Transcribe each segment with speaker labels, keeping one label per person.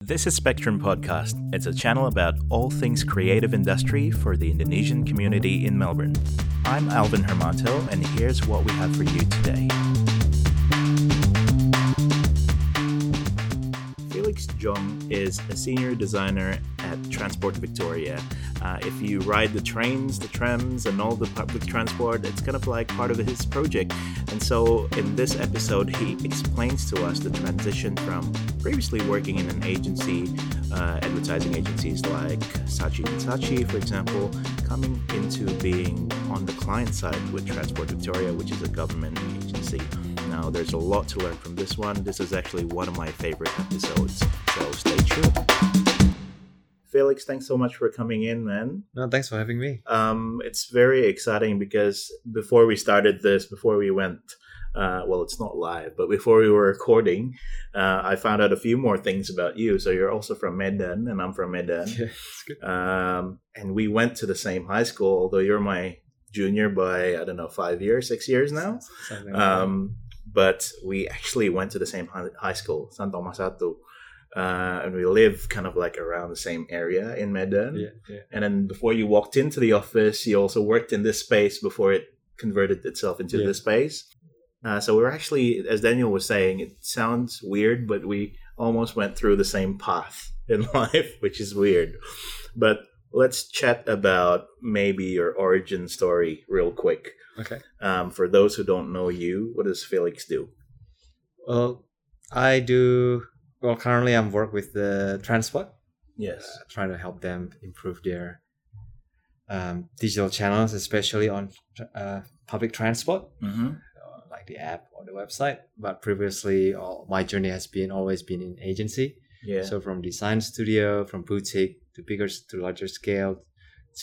Speaker 1: This is Spectrum Podcast. It's a channel about all things creative industry for the Indonesian community in Melbourne. I'm Alvin Hermanto, and here's what we have for you today. Felix Jong is a senior designer at Transport Victoria. Uh, if you ride the trains, the trams, and all the public transport, it's kind of like part of his project. And so, in this episode, he explains to us the transition from previously working in an agency, uh, advertising agencies like Sachi and Sachi, for example, coming into being on the client side with Transport Victoria, which is a government agency. Now, there's a lot to learn from this one. This is actually one of my favorite episodes, so stay tuned. Felix, thanks so much for coming in, man.
Speaker 2: No, thanks for having me.
Speaker 1: Um, it's very exciting because before we started this, before we went, uh, well, it's not live, but before we were recording, uh, I found out a few more things about you. So you're also from Medan, and I'm from Medan. Yeah, um, and we went to the same high school, although you're my junior by I don't know five years, six years now. Like um, but we actually went to the same high school, San Tomas Satu. Uh, and we live kind of like around the same area in Medan.
Speaker 2: Yeah, yeah.
Speaker 1: And then before you walked into the office, you also worked in this space before it converted itself into yeah. this space. Uh, so we we're actually, as Daniel was saying, it sounds weird, but we almost went through the same path in life, which is weird. But let's chat about maybe your origin story real quick.
Speaker 2: Okay.
Speaker 1: Um, for those who don't know you, what does Felix do?
Speaker 2: Well, I do. Well, currently I'm work with the transport.
Speaker 1: Yes.
Speaker 2: Uh, trying to help them improve their um, digital channels, especially on uh, public transport,
Speaker 1: mm-hmm.
Speaker 2: uh, like the app or the website. But previously, all, my journey has been always been in agency.
Speaker 1: Yeah.
Speaker 2: So from design studio, from boutique to bigger to larger scale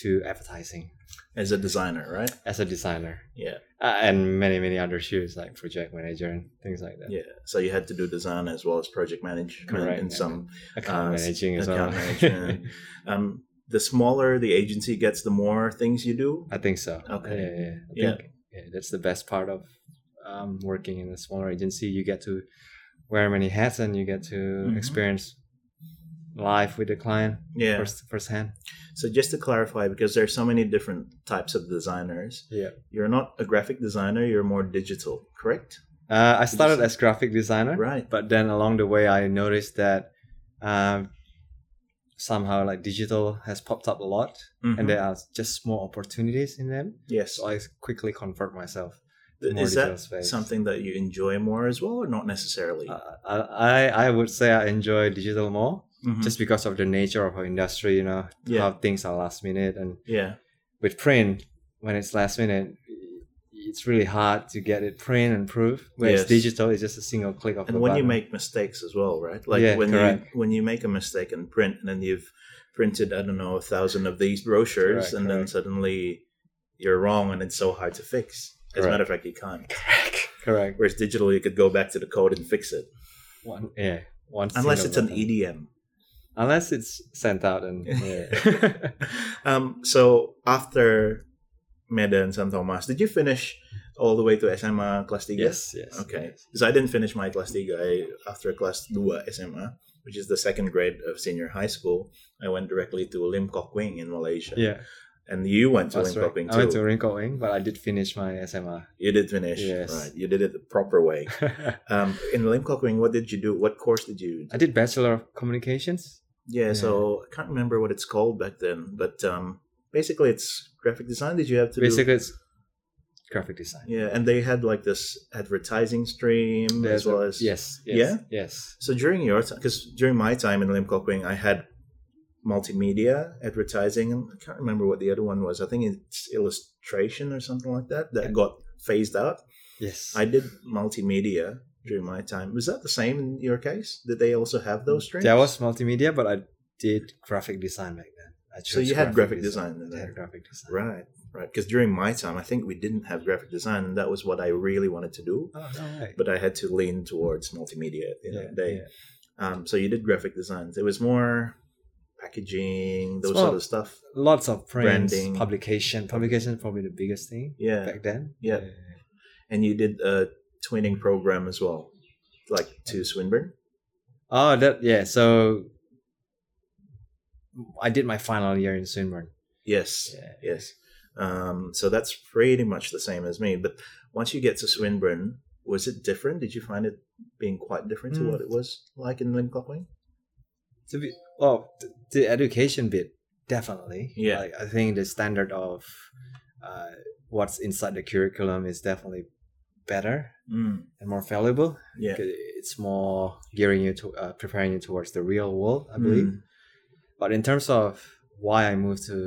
Speaker 2: to advertising
Speaker 1: as a designer right
Speaker 2: as a designer
Speaker 1: yeah
Speaker 2: uh, and many many other shoes like project manager and things like that
Speaker 1: yeah so you had to do design as well as project management
Speaker 2: Correct.
Speaker 1: and some
Speaker 2: account uh, managing as
Speaker 1: Ah, account
Speaker 2: well
Speaker 1: management. um, the smaller the agency gets the more things you do
Speaker 2: i think so
Speaker 1: okay
Speaker 2: yeah yeah, yeah. Think, yeah. yeah that's the best part of um, working in a smaller agency you get to wear many hats and you get to mm-hmm. experience live with the client
Speaker 1: yeah
Speaker 2: first firsthand
Speaker 1: so just to clarify because there's so many different types of designers
Speaker 2: yeah
Speaker 1: you're not a graphic designer you're more digital correct
Speaker 2: uh, i started as graphic designer
Speaker 1: right
Speaker 2: but then along the way i noticed that um, somehow like digital has popped up a lot
Speaker 1: mm-hmm.
Speaker 2: and there are just more opportunities in them
Speaker 1: yes
Speaker 2: so i quickly convert myself
Speaker 1: is that space. something that you enjoy more as well or not necessarily
Speaker 2: uh, I, I would say i enjoy digital more
Speaker 1: mm-hmm.
Speaker 2: just because of the nature of our industry you know
Speaker 1: yeah.
Speaker 2: how things are last minute and
Speaker 1: yeah
Speaker 2: with print when it's last minute it's really hard to get it print and proof whereas
Speaker 1: Yes.
Speaker 2: digital is just a single click of
Speaker 1: and
Speaker 2: the
Speaker 1: when you
Speaker 2: button.
Speaker 1: make mistakes as well right like
Speaker 2: Yeah,
Speaker 1: when
Speaker 2: correct.
Speaker 1: you when you make a mistake in print and then you've printed i don't know a thousand of these brochures
Speaker 2: Correct,
Speaker 1: and then
Speaker 2: correct.
Speaker 1: suddenly you're wrong and it's so hard to fix as a
Speaker 2: Correct.
Speaker 1: matter of fact you can't
Speaker 2: correct correct
Speaker 1: whereas digital you could go back to the code and fix it
Speaker 2: one yeah one
Speaker 1: unless
Speaker 2: single
Speaker 1: it's an E
Speaker 2: button.
Speaker 1: edm
Speaker 2: unless it's sent out and yeah.
Speaker 1: um, so after Medan San Tomas, did you finish all the way to SMA class 3?
Speaker 2: yes yes
Speaker 1: Okay.
Speaker 2: yes.
Speaker 1: Because I didn't finish my class 3. I, after class 2 SMA, which is the second grade of senior high school, I went directly to Lim Kok Wing in Malaysia.
Speaker 2: yeah
Speaker 1: And you went to Lim
Speaker 2: that's right
Speaker 1: Kok Wing
Speaker 2: i
Speaker 1: too.
Speaker 2: went to Wrinkle Wing but I did finish my SMR
Speaker 1: You did finish.
Speaker 2: Yes.
Speaker 1: Right. You did it the proper way. Um, in Lim Kok Wing, what did you do? What course did you do?
Speaker 2: I did Bachelor of Communications.
Speaker 1: Yeah,
Speaker 2: Yeah.
Speaker 1: so I can't remember what it's called back then, but um, basically it's graphic design. Did you have to do
Speaker 2: Basically, it's graphic design.
Speaker 1: Yeah, and they had like this advertising stream as
Speaker 2: There's a-
Speaker 1: well as
Speaker 2: yes, yes,
Speaker 1: Yeah?
Speaker 2: yes.
Speaker 1: So during your time, because during my time in Lim Kok Wing, I had multimedia advertising. and I can't remember what the other one was. I think it's illustration or something like that that
Speaker 2: Yeah.
Speaker 1: got phased out.
Speaker 2: Yes.
Speaker 1: I did multimedia during my time. Was that the same in your case? Did they also have those streams?
Speaker 2: there Mm-hmm. was multimedia, but I did graphic design back then. I
Speaker 1: So
Speaker 2: chose
Speaker 1: you had graphic design in
Speaker 2: I
Speaker 1: there.
Speaker 2: had graphic design.
Speaker 1: right, right. Because during my time, I think we didn't have graphic design, and that was what I really wanted to do.
Speaker 2: Oh, all right.
Speaker 1: But I had to lean towards multimedia at the end
Speaker 2: yeah,
Speaker 1: of the day.
Speaker 2: yeah.
Speaker 1: Um, so you did graphic designs. It was more packaging, those
Speaker 2: Well-
Speaker 1: sort of stuff.
Speaker 2: Lots of prints,
Speaker 1: Branding.
Speaker 2: publication. Publication is probably the biggest thing
Speaker 1: Yeah,
Speaker 2: back then.
Speaker 1: Yeah. and you did a twinning program as well, like to Swinburne.
Speaker 2: Oh, that yeah. So I did my final year in Sunburn.
Speaker 1: Yes.
Speaker 2: Yeah.
Speaker 1: Yes. Um, so that's pretty much the same as me. But once you get to Swinburne, was it different? Did you find it being quite different to
Speaker 2: Mm.
Speaker 1: what it was like in Limcoqueen?
Speaker 2: To be well, th- the education bit definitely.
Speaker 1: Yeah.
Speaker 2: Like, I think the standard of uh, what's inside the curriculum is definitely better
Speaker 1: Mm.
Speaker 2: and more valuable.
Speaker 1: Yeah.
Speaker 2: 'Cause It's more gearing you to uh, preparing you towards the real world, I believe.
Speaker 1: Mm.
Speaker 2: But in terms of why I moved to,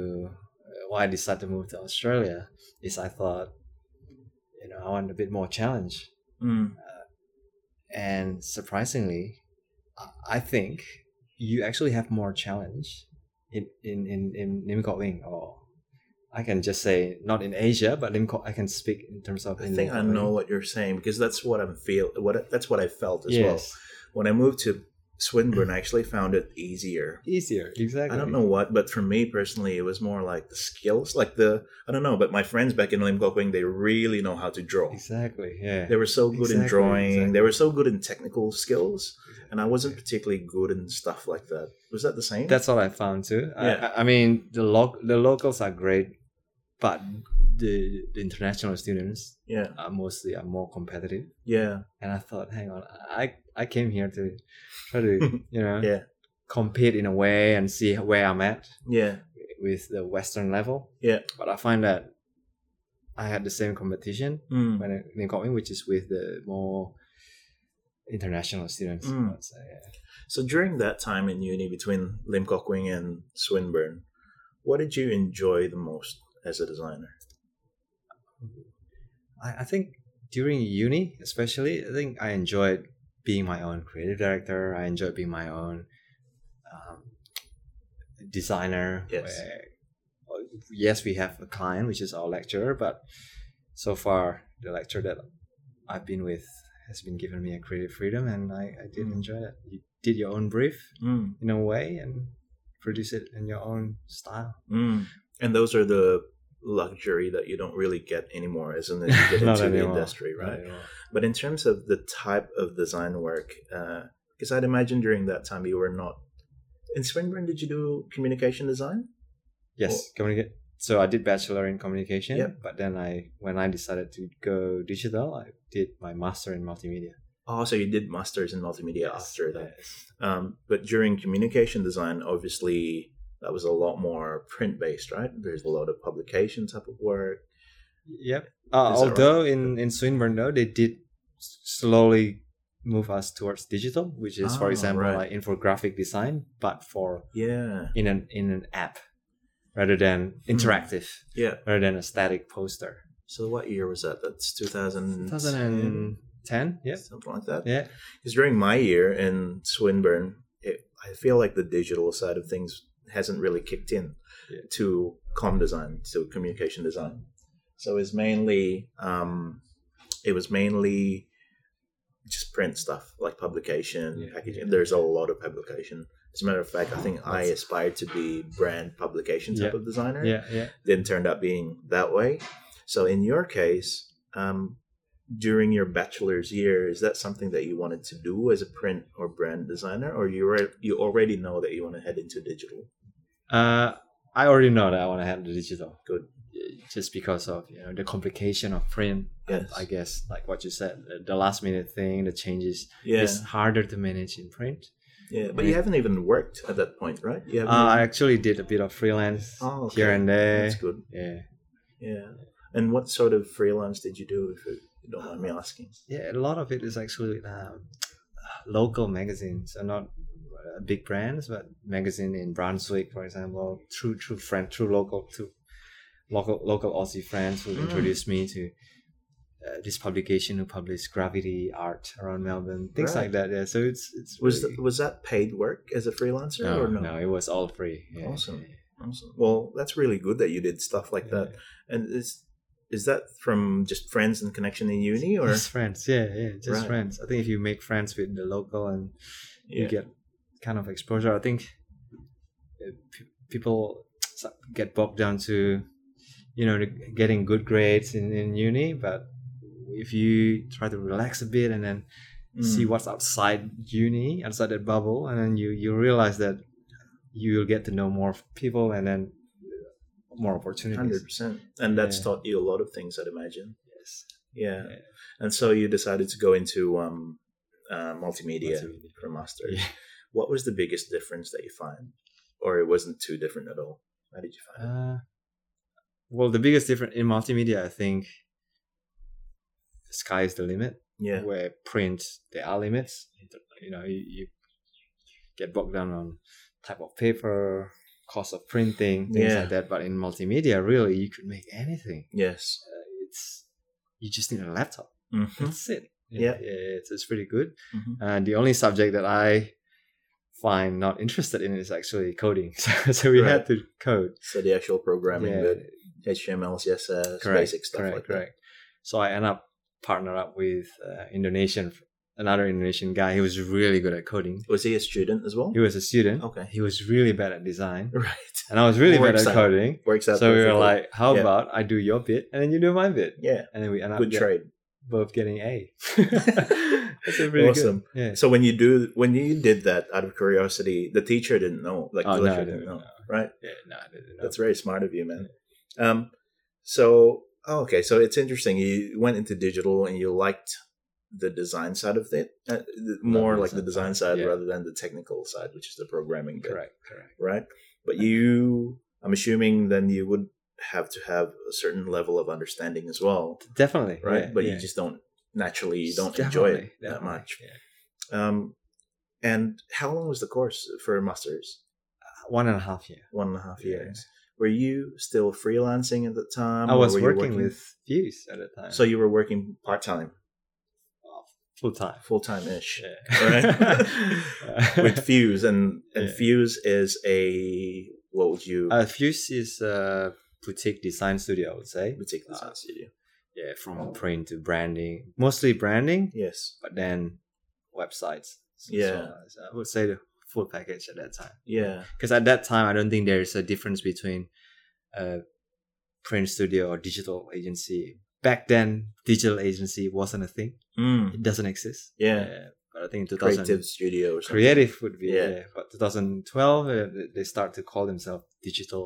Speaker 2: uh, why I decided to move to Australia, is I thought, you know, I want a bit more challenge.
Speaker 1: Mm.
Speaker 2: And surprisingly, I- I think you actually have more challenge in in in in Lim Kok Wing, or I can just say not in Asia, but Lim Kok. I can speak in terms of.
Speaker 1: I
Speaker 2: in
Speaker 1: think
Speaker 2: Lim
Speaker 1: I
Speaker 2: Kok Wing.
Speaker 1: know what you're saying because that's what I'm feel. What that's what I felt as well.
Speaker 2: Yes,
Speaker 1: When I moved to Swinburne, I actually found it easier.
Speaker 2: easier. Exactly.
Speaker 1: I don't know what, but for me personally, it was more like the skills, like the I don't know. But my friends back in Lim Kok Wing, they really know how to draw.
Speaker 2: Exactly. Yeah.
Speaker 1: They were so good in
Speaker 2: Exactly,
Speaker 1: drawing. They
Speaker 2: exactly.
Speaker 1: were so good in technical skills, and I wasn't particularly good in stuff like that. Was that the same?
Speaker 2: That's what I found too. I-
Speaker 1: Yeah.
Speaker 2: I, I mean, the lo- the locals are great, but the, the international students
Speaker 1: yeah,
Speaker 2: are mostly are more competitive.
Speaker 1: yeah,
Speaker 2: And I thought, hang on, I I came here to try to you know
Speaker 1: Yeah.
Speaker 2: compete in a way and see where I'm at
Speaker 1: yeah,
Speaker 2: with the Western level.
Speaker 1: Yeah.
Speaker 2: But I find that I had the same competition
Speaker 1: mm.
Speaker 2: when I when I got in, which is with the more international students.
Speaker 1: Mm.
Speaker 2: I would say, yeah.
Speaker 1: So during that time in uni between Lim Kok Wing and Swinburne, what did you enjoy the most as a designer?
Speaker 2: I, I think during uni, especially, I think I enjoyed being my own creative director. I enjoyed being my own um, designer.
Speaker 1: Yes.
Speaker 2: where- well, yes, we have a client, which is our lecturer, but so far the lecturer that I've been with has been giving me a creative freedom, and I, I did
Speaker 1: Mm.
Speaker 2: enjoy that. You did your own brief
Speaker 1: Mm.
Speaker 2: in a way and produce it in your own style.
Speaker 1: Mm. And those are the luxury that you don't really get anymore as soon as you get
Speaker 2: Not
Speaker 1: into the
Speaker 2: anymore.
Speaker 1: industry,
Speaker 2: Not
Speaker 1: right?
Speaker 2: anymore.
Speaker 1: But in terms of the type of design work, because I'd imagine during that time you were not. In Swinburne, did you do communication design?
Speaker 2: Yes, communicate. So I did bachelor in communication,
Speaker 1: Yep.
Speaker 2: but then I when I decided to go digital, I did my master in multimedia.
Speaker 1: Oh, so you did masters in multimedia
Speaker 2: Yes,
Speaker 1: after that.
Speaker 2: yes.
Speaker 1: Um, but during communication design, obviously that was a lot more print based, right? There's a lot of publication type of work.
Speaker 2: Yep. Uh,
Speaker 1: Is that
Speaker 2: although in in Swinburne though, they did s- slowly move us towards digital, which is
Speaker 1: Ah,
Speaker 2: for example
Speaker 1: right.
Speaker 2: like infographic design, but for
Speaker 1: Yeah,
Speaker 2: in an in an app rather than
Speaker 1: Hmm.
Speaker 2: interactive,
Speaker 1: yeah.
Speaker 2: rather than a static poster.
Speaker 1: So what year was that? That's 2010,
Speaker 2: 2010. Yep.
Speaker 1: something like that.
Speaker 2: Yeah.
Speaker 1: Because during my year in Swinburne, it, I feel like the digital side of things hasn't really kicked in
Speaker 2: Yeah.
Speaker 1: to com design, to communication design. So it's mainly, um, it was mainly just print stuff like publication,
Speaker 2: Yeah.
Speaker 1: packaging. There's a lot of publication. As a matter of fact, I think I aspired to be brand publication type
Speaker 2: Yeah.
Speaker 1: of designer
Speaker 2: Yeah. Yeah.
Speaker 1: then turned out being that way. So in your case, um, during your bachelor's year, is that something that you wanted to do as a print or brand designer, or you re- you already know that you want to head into digital?
Speaker 2: Uh, I already know that I want to have the digital. uh,
Speaker 1: Good.
Speaker 2: Just because of you know the complication of print,
Speaker 1: Yes.
Speaker 2: I guess like what you said, the- the last minute thing, the changes
Speaker 1: Yeah,
Speaker 2: is harder to manage in print.
Speaker 1: yeah. But you haven't even worked at that point, right? You
Speaker 2: Uh,
Speaker 1: haven't
Speaker 2: I
Speaker 1: even-
Speaker 2: actually did a bit of freelance
Speaker 1: Oh, okay.
Speaker 2: here and there.
Speaker 1: That's good.
Speaker 2: Yeah,
Speaker 1: Yeah. And what sort of freelance did you do, if you don't mind me asking?
Speaker 2: yeah. A lot of it is actually um, local magazines, so not uh, big brands, but magazine in Brunswick, for example. True, true friend, true local, true local local Aussie friends who
Speaker 1: Mm.
Speaker 2: introduced me to uh, this publication who published gravity art around Melbourne, things
Speaker 1: Right.
Speaker 2: like that. Yeah, so it's it's
Speaker 1: Was
Speaker 2: really-
Speaker 1: th- was that paid work as a freelancer
Speaker 2: no,
Speaker 1: or
Speaker 2: no, it was all free. Yeah,
Speaker 1: Awesome.
Speaker 2: yeah,
Speaker 1: Awesome. Well, that's really good that you did stuff like that. And is is that from just friends and connection in uni, or
Speaker 2: just friends. Yeah, yeah, just
Speaker 1: Right.
Speaker 2: friends. I think if you make friends with the local and you get kind of exposure, I think uh, p- people get bogged down to you know the- getting good grades in, in uni, but if you try to relax a bit and then
Speaker 1: Mm.
Speaker 2: see what's outside uni, outside that bubble, and then you you realize that you'll get to know more people and then uh, more opportunities.
Speaker 1: Hundred percent. And that's
Speaker 2: Yeah.
Speaker 1: taught you a lot of things, I'd imagine.
Speaker 2: Yes.
Speaker 1: Yeah.
Speaker 2: Yeah.
Speaker 1: And so you decided to go into um, uh, multimedia
Speaker 2: Multimedia.
Speaker 1: for master's.
Speaker 2: Yeah.
Speaker 1: What was the biggest difference that you find, or it wasn't too different at all? How did you find it?
Speaker 2: Uh, well, the biggest difference in multimedia, I think, the sky is the limit.
Speaker 1: Yeah.
Speaker 2: Where print, there are limits. You know, you, you get bogged down on type of paper, cost of printing, things
Speaker 1: Yeah.
Speaker 2: like that. But in multimedia, really, you could make anything.
Speaker 1: Yes.
Speaker 2: Uh, it's you just need a laptop.
Speaker 1: Mhm.
Speaker 2: That's it.
Speaker 1: Yeah.
Speaker 2: it's, it's pretty good.
Speaker 1: Mhm.
Speaker 2: And the only subject that I find not interested in is actually coding. So, so we had
Speaker 1: Right.
Speaker 2: to code.
Speaker 1: So the actual programming,
Speaker 2: Yeah,
Speaker 1: the HTML, CSS, basic stuff
Speaker 2: correct,
Speaker 1: like
Speaker 2: correct. So I end up partnered up with uh, Indonesian, another Indonesian guy. He was really good at coding.
Speaker 1: that. Was he a student as well?
Speaker 2: He was a student.
Speaker 1: Okay.
Speaker 2: He was really bad at design,
Speaker 1: Right.
Speaker 2: and I was really
Speaker 1: More
Speaker 2: bad at
Speaker 1: exciting.
Speaker 2: coding.
Speaker 1: Works out.
Speaker 2: so we were
Speaker 1: perfectly.
Speaker 2: like, "How
Speaker 1: Yeah.
Speaker 2: about I do your bit and then you do my bit?"
Speaker 1: yeah,
Speaker 2: And then we end up
Speaker 1: good
Speaker 2: get-
Speaker 1: trade.
Speaker 2: both getting A. That's a really
Speaker 1: Awesome.
Speaker 2: Good. Yeah.
Speaker 1: So when you do, when you did that out of curiosity, the teacher didn't know, like
Speaker 2: Oh,
Speaker 1: the
Speaker 2: no, I
Speaker 1: lecturer
Speaker 2: didn't
Speaker 1: didn't know,
Speaker 2: know.
Speaker 1: right?
Speaker 2: yeah, no, I didn't know.
Speaker 1: That's very smart of you, man. Um, so oh, okay, so it's interesting. You went into digital and you liked the design side of it, uh, the- more
Speaker 2: the
Speaker 1: like the
Speaker 2: design
Speaker 1: design side
Speaker 2: side, yeah.
Speaker 1: rather than the technical side, which is the programming bit,
Speaker 2: correct. Correct.
Speaker 1: right? But you, I'm assuming, then you would have to have a certain level of understanding as well,
Speaker 2: Definitely.
Speaker 1: right?
Speaker 2: yeah,
Speaker 1: but you
Speaker 2: yeah.
Speaker 1: just don't naturally, you don't enjoy it
Speaker 2: Definitely,
Speaker 1: that
Speaker 2: definitely,
Speaker 1: much.
Speaker 2: yeah.
Speaker 1: Um, and how long was the course for a master's?
Speaker 2: One and a half year.
Speaker 1: One and a half
Speaker 2: Yeah.
Speaker 1: years. Were you still freelancing at the time?
Speaker 2: I
Speaker 1: or
Speaker 2: was
Speaker 1: were you
Speaker 2: working, with uh, Views at the time.
Speaker 1: So you were working part time,
Speaker 2: full time.
Speaker 1: full time ish,
Speaker 2: Right.
Speaker 1: with Fuse, and and
Speaker 2: Yeah.
Speaker 1: Fuse is a what would you
Speaker 2: uh, Fuse is a boutique design studio, I would say. Oh.
Speaker 1: boutique design
Speaker 2: uh,
Speaker 1: studio?
Speaker 2: Yeah, from print to branding, mostly branding,
Speaker 1: Yes,
Speaker 2: but then websites. So-
Speaker 1: Yeah.
Speaker 2: so I would say the full package at that time.
Speaker 1: yeah,
Speaker 2: because at that time I don't think there is a difference between uh, print studio or digital agency. Back then, digital agency wasn't a thing;
Speaker 1: mm.
Speaker 2: it doesn't exist.
Speaker 1: yeah.
Speaker 2: Uh, but I think in 2000
Speaker 1: Creative studio or something.
Speaker 2: creative would be
Speaker 1: Yeah.
Speaker 2: yeah. But 2012, uh, they- they start to call themselves digital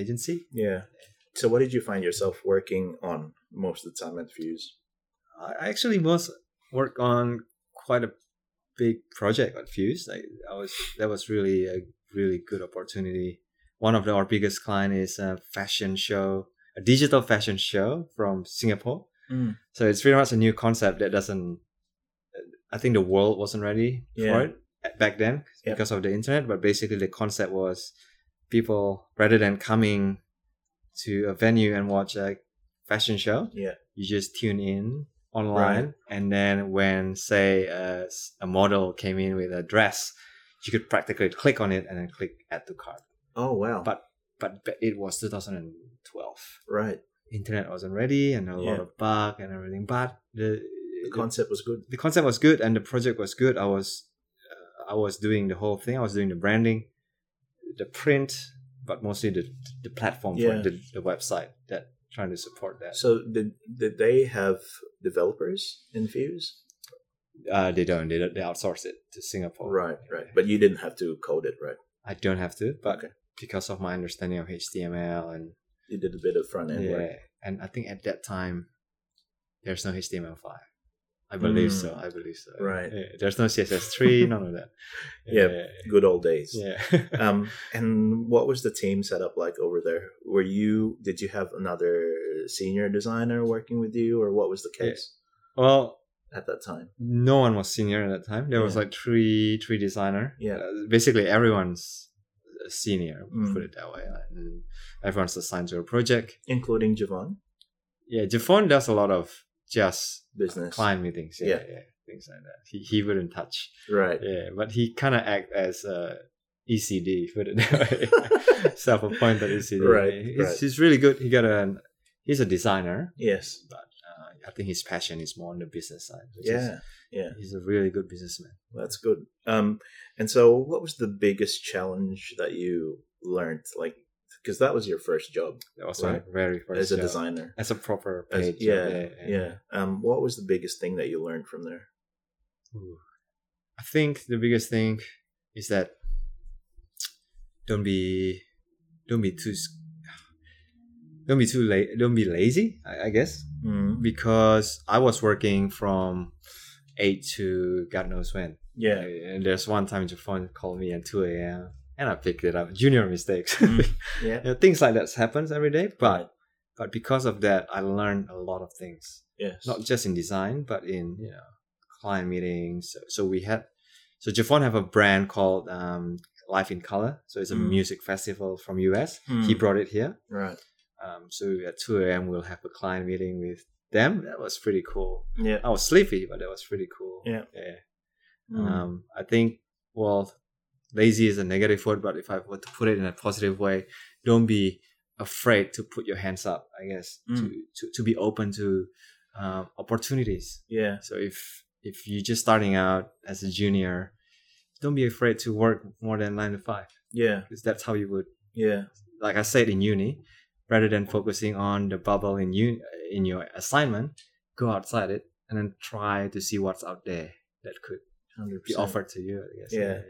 Speaker 2: agency.
Speaker 1: Yeah. So what did you find yourself working on most of the time at Fuse?
Speaker 2: I I actually was work on quite a big project at Fuse. Like I was, that was really a really good opportunity. One of the, our biggest client is a fashion show, a digital fashion show from Singapore.
Speaker 1: Mm.
Speaker 2: So it's pretty much a new concept that doesn't. I think the world wasn't ready
Speaker 1: Yeah.
Speaker 2: for it back then
Speaker 1: Yep.
Speaker 2: because of the internet. But basically, the concept was people rather than coming to a venue and watch a fashion show,
Speaker 1: Yeah.
Speaker 2: you just tune in online and then when say a, s- a model came in with a dress you could practically click on it and then click add to cart
Speaker 1: Oh wow!
Speaker 2: But- but ba- it was 2012
Speaker 1: right,
Speaker 2: internet wasn't ready and a lot
Speaker 1: Yeah.
Speaker 2: of bug and everything but the
Speaker 1: the
Speaker 2: the,
Speaker 1: concept was good.
Speaker 2: the concept was good and the project was good i was uh, i was doing the whole thing i was doing the branding the print but mostly the the platform
Speaker 1: Yeah.
Speaker 2: for the, the website that trying to support that
Speaker 1: So did did they have developers in Fuse?
Speaker 2: Uh, they don't. They don't- they outsource it to Singapore.
Speaker 1: Right, right. But you didn't have to code it, right?
Speaker 2: I don't have to, but
Speaker 1: Okay.
Speaker 2: because of my understanding of HTML and
Speaker 1: You did a bit of front end work.
Speaker 2: yeah, and I think at that time there's no HTML5. I believe so.
Speaker 1: Mm.
Speaker 2: I believe so.
Speaker 1: Right.
Speaker 2: Yeah, there's no CSS3. none of that.
Speaker 1: Yeah.
Speaker 2: Yeah.
Speaker 1: Good old days.
Speaker 2: yeah.
Speaker 1: Um, and what was the team setup like over there? Were you did you have another senior designer working with you, or what was the
Speaker 2: Yeah.
Speaker 1: case
Speaker 2: well,
Speaker 1: at that time?
Speaker 2: no one was senior at that time. There was
Speaker 1: Yeah.
Speaker 2: like three three designer.
Speaker 1: Yeah.
Speaker 2: Uh, basically everyone's a senior.
Speaker 1: Mm.
Speaker 2: Put it that way. Like, and everyone's assigned to a project.
Speaker 1: Including Javon,
Speaker 2: Yeah, Jafon does a lot of just
Speaker 1: business,
Speaker 2: client meetings. Yeah,
Speaker 1: Yeah.
Speaker 2: yeah, things like that. He he wouldn't touch.
Speaker 1: right?
Speaker 2: Yeah, but he kind of act as a E ECD, put it that way, self-appointed ECD.
Speaker 1: Right,
Speaker 2: he's,
Speaker 1: right.
Speaker 2: he's really good. He got an he's a designer,
Speaker 1: Yes.
Speaker 2: but uh, I think his passion is more on the business side. which is-
Speaker 1: Yeah,
Speaker 2: he's a really good businessman.
Speaker 1: that's good. Um, and so what was the biggest challenge that you learned? Like, because that was your first job
Speaker 2: That was
Speaker 1: Right.
Speaker 2: my very first
Speaker 1: as a
Speaker 2: job.
Speaker 1: designer.
Speaker 2: as a proper
Speaker 1: As-
Speaker 2: paid
Speaker 1: yeah,
Speaker 2: job.
Speaker 1: yeah, Um, what was the biggest thing that you learned from there?
Speaker 2: Ooh. I think the biggest thing is that don't be don't be too s- don't be too late don't be lazy i, I guess
Speaker 1: Mm.
Speaker 2: because i was working from 8 to god knows when
Speaker 1: Yeah.
Speaker 2: and there's one time your phone called me at 2 a.m and i picked it up junior mistakes
Speaker 1: Mm. Yeah.
Speaker 2: You know, things like that happens every day but but because of that i learned a lot of things
Speaker 1: Yes.
Speaker 2: not just in design but in you know client meetings so, so we had so Javon have a brand called um, life in color so it's a
Speaker 1: Mm.
Speaker 2: music festival from us
Speaker 1: Mm.
Speaker 2: he brought it here
Speaker 1: Right.
Speaker 2: um, so at 2 a.m we'll have a client meeting with them that was pretty cool
Speaker 1: Yeah.
Speaker 2: i was sleepy but that was pretty cool
Speaker 1: Yeah.
Speaker 2: yeah
Speaker 1: Mm.
Speaker 2: um, I think, well, lazy is a negative word, but if I were to put it in a positive way, don't be afraid to put your hands up, I guess, to,
Speaker 1: Mm.
Speaker 2: to, to be open to um, opportunities.
Speaker 1: yeah.
Speaker 2: So if, if you're just starting out as a junior, don't be afraid to work more than nine to five
Speaker 1: Yeah.
Speaker 2: because that's how you would,
Speaker 1: Yeah.
Speaker 2: like I said in uni, rather than focusing on the bubble in you in your assignment, go outside it and then try to see what's out there that could
Speaker 1: Hundred
Speaker 2: be offered to you. I guess.
Speaker 1: Yeah.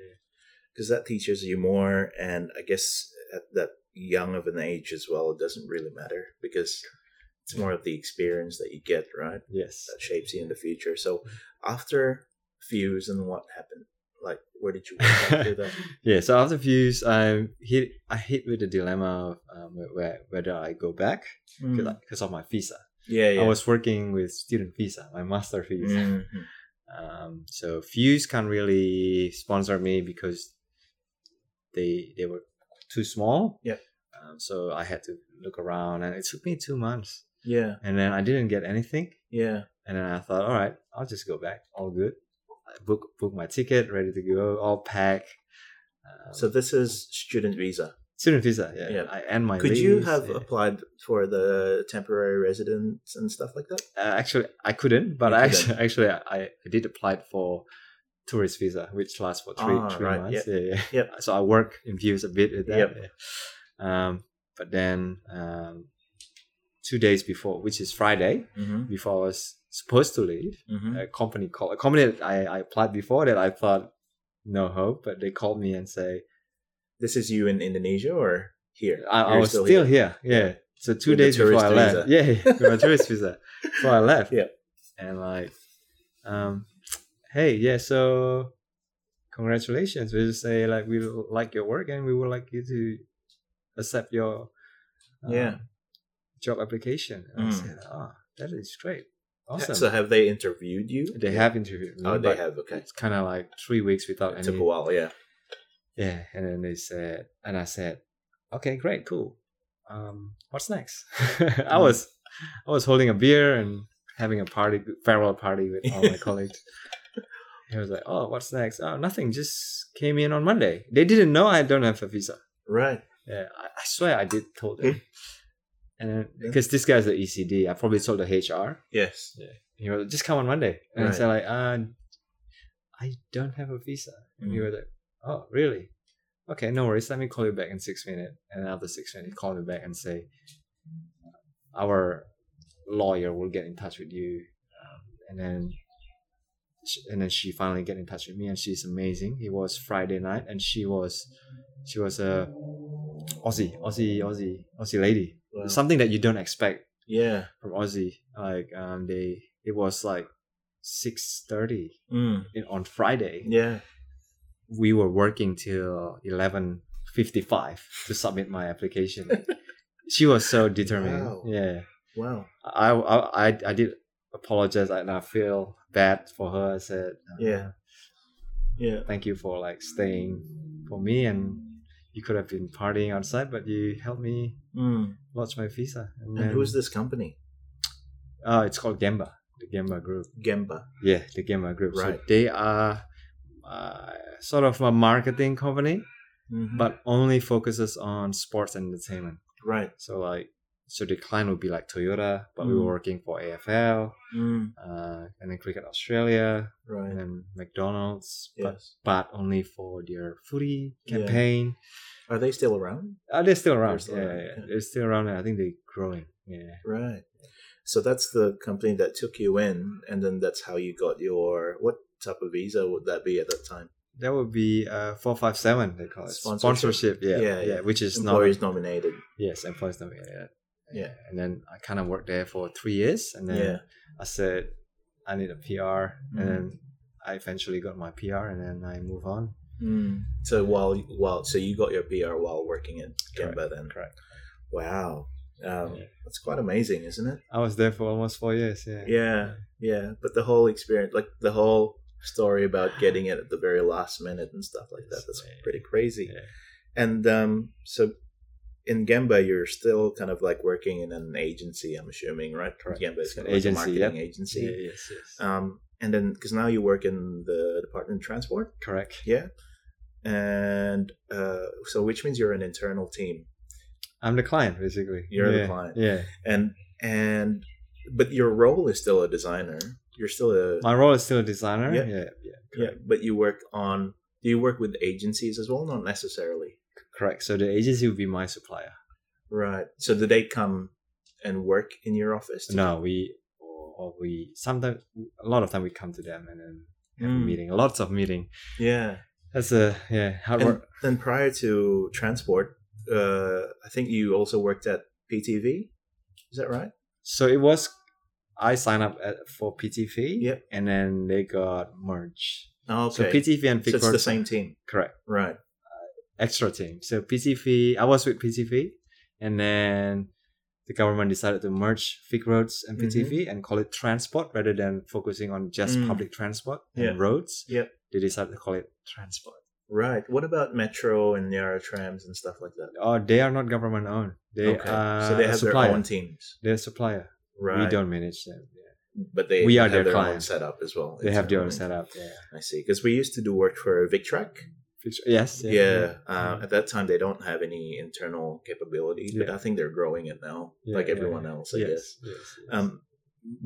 Speaker 1: because that teaches you more and i guess at that young of an age as well it doesn't really matter because it's more of the experience that you get right
Speaker 2: Yes.
Speaker 1: that shapes you in the future so
Speaker 2: Mm-hmm.
Speaker 1: after fuse and what happened like where did you work after that
Speaker 2: Yeah. So after views, I hit I hit with the dilemma of um, where, where whether I go back
Speaker 1: Mm.
Speaker 2: because of my visa.
Speaker 1: yeah yeah
Speaker 2: I was working with student visa, my master visa.
Speaker 1: Mhm.
Speaker 2: Um, so Fuse can't really sponsor me because they they were too small.
Speaker 1: Yep.
Speaker 2: Um, so I had to look around, and it took me two months,
Speaker 1: yeah
Speaker 2: and then I didn't get anything.
Speaker 1: yeah
Speaker 2: And then I thought, all right, I'll just go back. All good. I book book my ticket, ready to go, all packed. Um,
Speaker 1: so this is student visa
Speaker 2: student visa, yeah.
Speaker 1: Yeah.
Speaker 2: I end my
Speaker 1: could you
Speaker 2: lease,
Speaker 1: have
Speaker 2: yeah.
Speaker 1: applied for the temporary residence and stuff like that
Speaker 2: Uh, actually, I couldn't, but
Speaker 1: You
Speaker 2: I
Speaker 1: couldn't.
Speaker 2: actually, actually, I, I did apply for tourist visa, which lasts for three
Speaker 1: Ah,
Speaker 2: three
Speaker 1: right,
Speaker 2: months. Yeah, yeah.
Speaker 1: Yep.
Speaker 2: So I work in views a bit with that.
Speaker 1: Yep.
Speaker 2: yeah. Um, but then um, two days before, which is Friday,
Speaker 1: mm-hmm.
Speaker 2: before I was supposed to leave,
Speaker 1: Mm-hmm.
Speaker 2: a company called a company that I, I applied before that I thought no hope, but they called me and say
Speaker 1: this is you in indonesia or here
Speaker 2: I, I
Speaker 1: You're
Speaker 2: was still, here. Yeah. So two
Speaker 1: With the
Speaker 2: days before I
Speaker 1: tourist
Speaker 2: left.
Speaker 1: visa.
Speaker 2: Yeah, yeah, with my tourist visa. Before I left.
Speaker 1: Yeah.
Speaker 2: And like, um, hey, yeah, so congratulations. We just say like we like your work and we would like you to accept your um,
Speaker 1: Yeah.
Speaker 2: job application. And I
Speaker 1: Mm.
Speaker 2: said, Ah, that is great. Awesome.
Speaker 1: so have they interviewed you
Speaker 2: they have interviewed me.
Speaker 1: oh they
Speaker 2: but
Speaker 1: have okay
Speaker 2: It's kind of like three weeks without
Speaker 1: It
Speaker 2: any
Speaker 1: took a while, yeah.
Speaker 2: Yeah, and then they said, and I said, okay, great, cool. Um, what's next? I was, I was holding a beer and having a party, farewell party with all my colleagues. He was like, oh, what's next? Oh, nothing. Just came in on Monday. They didn't know I don't have a visa.
Speaker 1: Right.
Speaker 2: Yeah, I, I swear I did told
Speaker 1: Hmm.
Speaker 2: them. And then, because this guy's the ECD, I probably told the HR.
Speaker 1: Yes.
Speaker 2: He was like, just come on Monday. And I
Speaker 1: Right.
Speaker 2: said like, uh, I don't have a visa. And
Speaker 1: Mm.
Speaker 2: he was like, oh, really? Okay, no worries. Let me call you back in six minutes. And after six minutes, he called me back and say, our lawyer will get in touch with you. Um, and then, sh- and then she finally get in touch with me, and she's amazing. It was Friday night, and she was, she was a Aussie, Aussie, Aussie, Aussie lady.
Speaker 1: Wow.
Speaker 2: Something that you don't expect
Speaker 1: Yeah.
Speaker 2: from Aussie. Like um, they it was like six thirty
Speaker 1: Mm.
Speaker 2: on Friday.
Speaker 1: Yeah.
Speaker 2: We were working till eleven fifty five to submit my application. she was so determined.
Speaker 1: Wow.
Speaker 2: Yeah,
Speaker 1: Wow.
Speaker 2: I, I I I did apologize and I feel bad for her. I said, uh,
Speaker 1: Yeah. Yeah.
Speaker 2: thank you for like staying for me and. You could have been partying outside, but you helped me
Speaker 1: Mm.
Speaker 2: lodge my visa. And,
Speaker 1: And who is this company?
Speaker 2: Uh, it's called Gemba, the Gemba Group.
Speaker 1: Gemba.
Speaker 2: Yeah, the gamer group.
Speaker 1: Right.
Speaker 2: So they are uh, sort of a marketing company,
Speaker 1: Mhm.
Speaker 2: but only focuses on sports and entertainment.
Speaker 1: right.
Speaker 2: So like, so the client would be like Toyota, but we
Speaker 1: Mm.
Speaker 2: were working for AFL,
Speaker 1: Mm.
Speaker 2: uh, and then Cricket Australia, and
Speaker 1: Right.
Speaker 2: then McDonald's, but
Speaker 1: Yes.
Speaker 2: but only for their foodie
Speaker 1: Yeah.
Speaker 2: campaign.
Speaker 1: Are they still around?
Speaker 2: Are they still around?
Speaker 1: They're still
Speaker 2: yeah,
Speaker 1: around,
Speaker 2: yeah,
Speaker 1: yeah.
Speaker 2: they're still around. and I think they're growing. Yeah.
Speaker 1: Right. So that's the company that took you in, and then that's how you got your what type of visa would that be at that time?
Speaker 2: that would be uh, four five seven. They call it
Speaker 1: Sponsorship.
Speaker 2: sponsorship. yeah,
Speaker 1: Yeah,
Speaker 2: yeah,
Speaker 1: yeah.
Speaker 2: Which is not
Speaker 1: Employees nominated.
Speaker 2: yes, employees nominated.
Speaker 1: Yeah.
Speaker 2: and then I kind of worked there for three years, and then
Speaker 1: Yeah.
Speaker 2: I said I need a PR,
Speaker 1: Mhm.
Speaker 2: and then I eventually got my PR, and then I move on.
Speaker 1: Mm. So while while so you got your PR while working in Canberra
Speaker 2: Correct,
Speaker 1: then.
Speaker 2: correct.
Speaker 1: Wow. Um,
Speaker 2: Yeah.
Speaker 1: That's quite amazing, isn't it?
Speaker 2: I was there for almost four years. Yeah.
Speaker 1: Yeah, yeah. But the whole experience, like the whole story about getting it at the very last minute and stuff like that, that's pretty crazy.
Speaker 2: Yeah.
Speaker 1: And um, so in Gemba, you're still kind of like working in an agency, I'm assuming, right?
Speaker 2: Correct.
Speaker 1: Gemba is
Speaker 2: It's an
Speaker 1: kind of like a
Speaker 2: agency,
Speaker 1: marketing
Speaker 2: yep.
Speaker 1: agency.
Speaker 2: Yeah, yes, yes.
Speaker 1: Um, and then, because now you work in the Department of Transport,
Speaker 2: Correct.
Speaker 1: yeah? And uh, so, which means you're an internal team.
Speaker 2: I'm the client basically.
Speaker 1: You're the
Speaker 2: Yeah,
Speaker 1: client.
Speaker 2: Yeah.
Speaker 1: And, and, but your role is still a designer. You're still a
Speaker 2: My role is still a designer.
Speaker 1: Yeah.
Speaker 2: Yeah. Yeah.
Speaker 1: Yeah, but you work on. Do you work with agencies as well? Not necessarily.
Speaker 2: Correct. So the agency would be my supplier.
Speaker 1: Right. So do they come and work in your office?
Speaker 2: No, we or, or we sometimes a lot of time we come to them and then have
Speaker 1: Mm.
Speaker 2: a meeting. Lots of meeting.
Speaker 1: Yeah.
Speaker 2: That's a yeah. How it
Speaker 1: And
Speaker 2: work?
Speaker 1: then prior to transport, uh, I think you also worked at PTV. Is that right?
Speaker 2: So it was. I signed up at, for PTV.
Speaker 1: Yep.
Speaker 2: And then they got merged.
Speaker 1: Oh, okay.
Speaker 2: So PTV and
Speaker 1: So
Speaker 2: Vicor.
Speaker 1: it's the same team,
Speaker 2: Correct.
Speaker 1: right?
Speaker 2: Extra team. So PTV. I was with PTV, and then. The government decided to merge Vic roads and PTV and call it transport rather than focusing on just
Speaker 1: Mm-hmm. Mm.
Speaker 2: public transport
Speaker 1: Yeah.
Speaker 2: and roads.
Speaker 1: Yep.
Speaker 2: They decided to call it transport.
Speaker 1: Right. What about metro and Yara trams and stuff like that?
Speaker 2: Oh, they are not government owned. They
Speaker 1: okay.
Speaker 2: are
Speaker 1: so they have
Speaker 2: supplier.
Speaker 1: their own teams,
Speaker 2: They're supplier.
Speaker 1: right?
Speaker 2: We don't manage them. Yeah.
Speaker 1: but they
Speaker 2: we are
Speaker 1: have
Speaker 2: their
Speaker 1: own
Speaker 2: client.
Speaker 1: setup as well.
Speaker 2: They have their own
Speaker 1: internally.
Speaker 2: setup. Yeah.
Speaker 1: I see. Because we used to do work for VicTrack.
Speaker 2: Fix- Yes.
Speaker 1: yeah, uh, at that time they don't have any internal capability but
Speaker 2: Yeah.
Speaker 1: i think they're growing it now
Speaker 2: Yeah,
Speaker 1: like
Speaker 2: yeah,
Speaker 1: everyone else i
Speaker 2: yes,
Speaker 1: guess
Speaker 2: yes, yes.
Speaker 1: um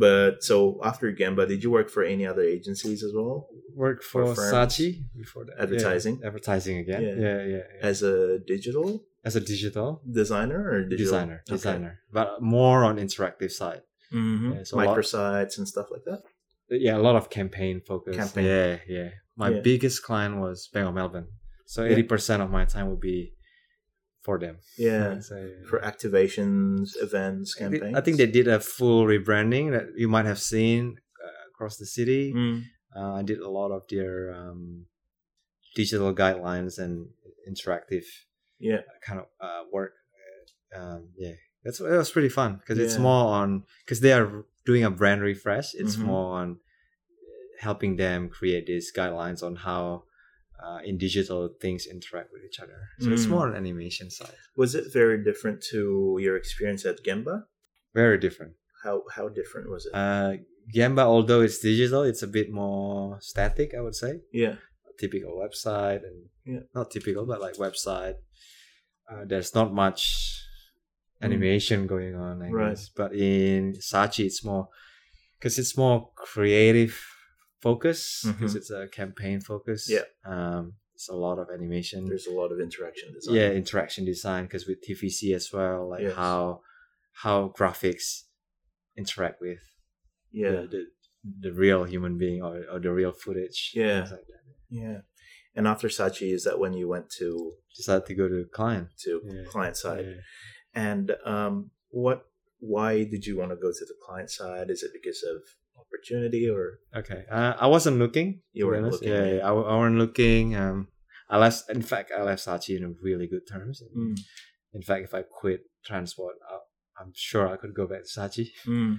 Speaker 1: but so after gemba did you work for any other agencies as well
Speaker 2: work
Speaker 1: for
Speaker 2: for
Speaker 1: firms,
Speaker 2: Saatchi before that.
Speaker 1: advertising?
Speaker 2: Yeah. Advertising again.
Speaker 1: Yeah.
Speaker 2: Yeah. Yeah. yeah,
Speaker 1: as a digital
Speaker 2: As a digital,
Speaker 1: designer or digital?
Speaker 2: designer, designer, but more on interactive side.
Speaker 1: hmm
Speaker 2: Yeah, so a lot-
Speaker 1: microsites and stuff like that
Speaker 2: Yeah, a lot of campaign focus.
Speaker 1: Campaign.
Speaker 2: Yeah, yeah. My
Speaker 1: Yeah.
Speaker 2: biggest client was Bank of Melbourne, so
Speaker 1: Yeah.
Speaker 2: eighty percent of my time would be for them.
Speaker 1: yeah
Speaker 2: So, yeah.
Speaker 1: for activations events
Speaker 2: I thi-
Speaker 1: campaigns
Speaker 2: I think they did a full rebranding that you might have seen uh, across the city.
Speaker 1: Mm,
Speaker 2: Uh, I did a lot of their um, digital guidelines and interactive
Speaker 1: yeah
Speaker 2: kind of uh, work. Um, yeah, that's that was pretty fun because it's
Speaker 1: Yeah.
Speaker 2: more on because they are doing a brand refresh. It's
Speaker 1: Mhm.
Speaker 2: more on uh, helping them create these guidelines on how uh, in digital things interact with each other. So it's
Speaker 1: Mm.
Speaker 2: more on animation side.
Speaker 1: was it very different to your experience at gemba
Speaker 2: Very different.
Speaker 1: how how different was it
Speaker 2: Uh, Gemba, although it's digital, it's a bit more static, I would say.
Speaker 1: yeah
Speaker 2: typical website and
Speaker 1: Yeah.
Speaker 2: not typical, but like website. Uh, there's not much animation going on, I
Speaker 1: Mm. Right.
Speaker 2: guess. But in Sachi, it's more because it's more creative focus because
Speaker 1: Mhm.
Speaker 2: it's a campaign focus.
Speaker 1: Yeah.
Speaker 2: um, it's a lot of animation
Speaker 1: there's a lot of interaction design
Speaker 2: mm. yeah interaction design because with tvc as well like
Speaker 1: Yes.
Speaker 2: how how graphics interact with the-
Speaker 1: yeah
Speaker 2: the, the real human being or, or the real footage
Speaker 1: Yeah.
Speaker 2: things like that.
Speaker 1: Yeah. And after Sachi, is that when you went to
Speaker 2: decided to go to client
Speaker 1: to
Speaker 2: Yeah.
Speaker 1: client side?
Speaker 2: Yeah.
Speaker 1: And um, what? Why did you want to go to the client side? Is it because of opportunity or?
Speaker 2: okay uh, i wasn't looking
Speaker 1: You
Speaker 2: to be
Speaker 1: weren't
Speaker 2: honest.
Speaker 1: looking,
Speaker 2: yeah,
Speaker 1: yeah.
Speaker 2: I, I wasn't looking um i left in fact i left sachi in really good terms
Speaker 1: Mm.
Speaker 2: in fact if i quit transport I, i'm sure i could go back to sachi
Speaker 1: Mm,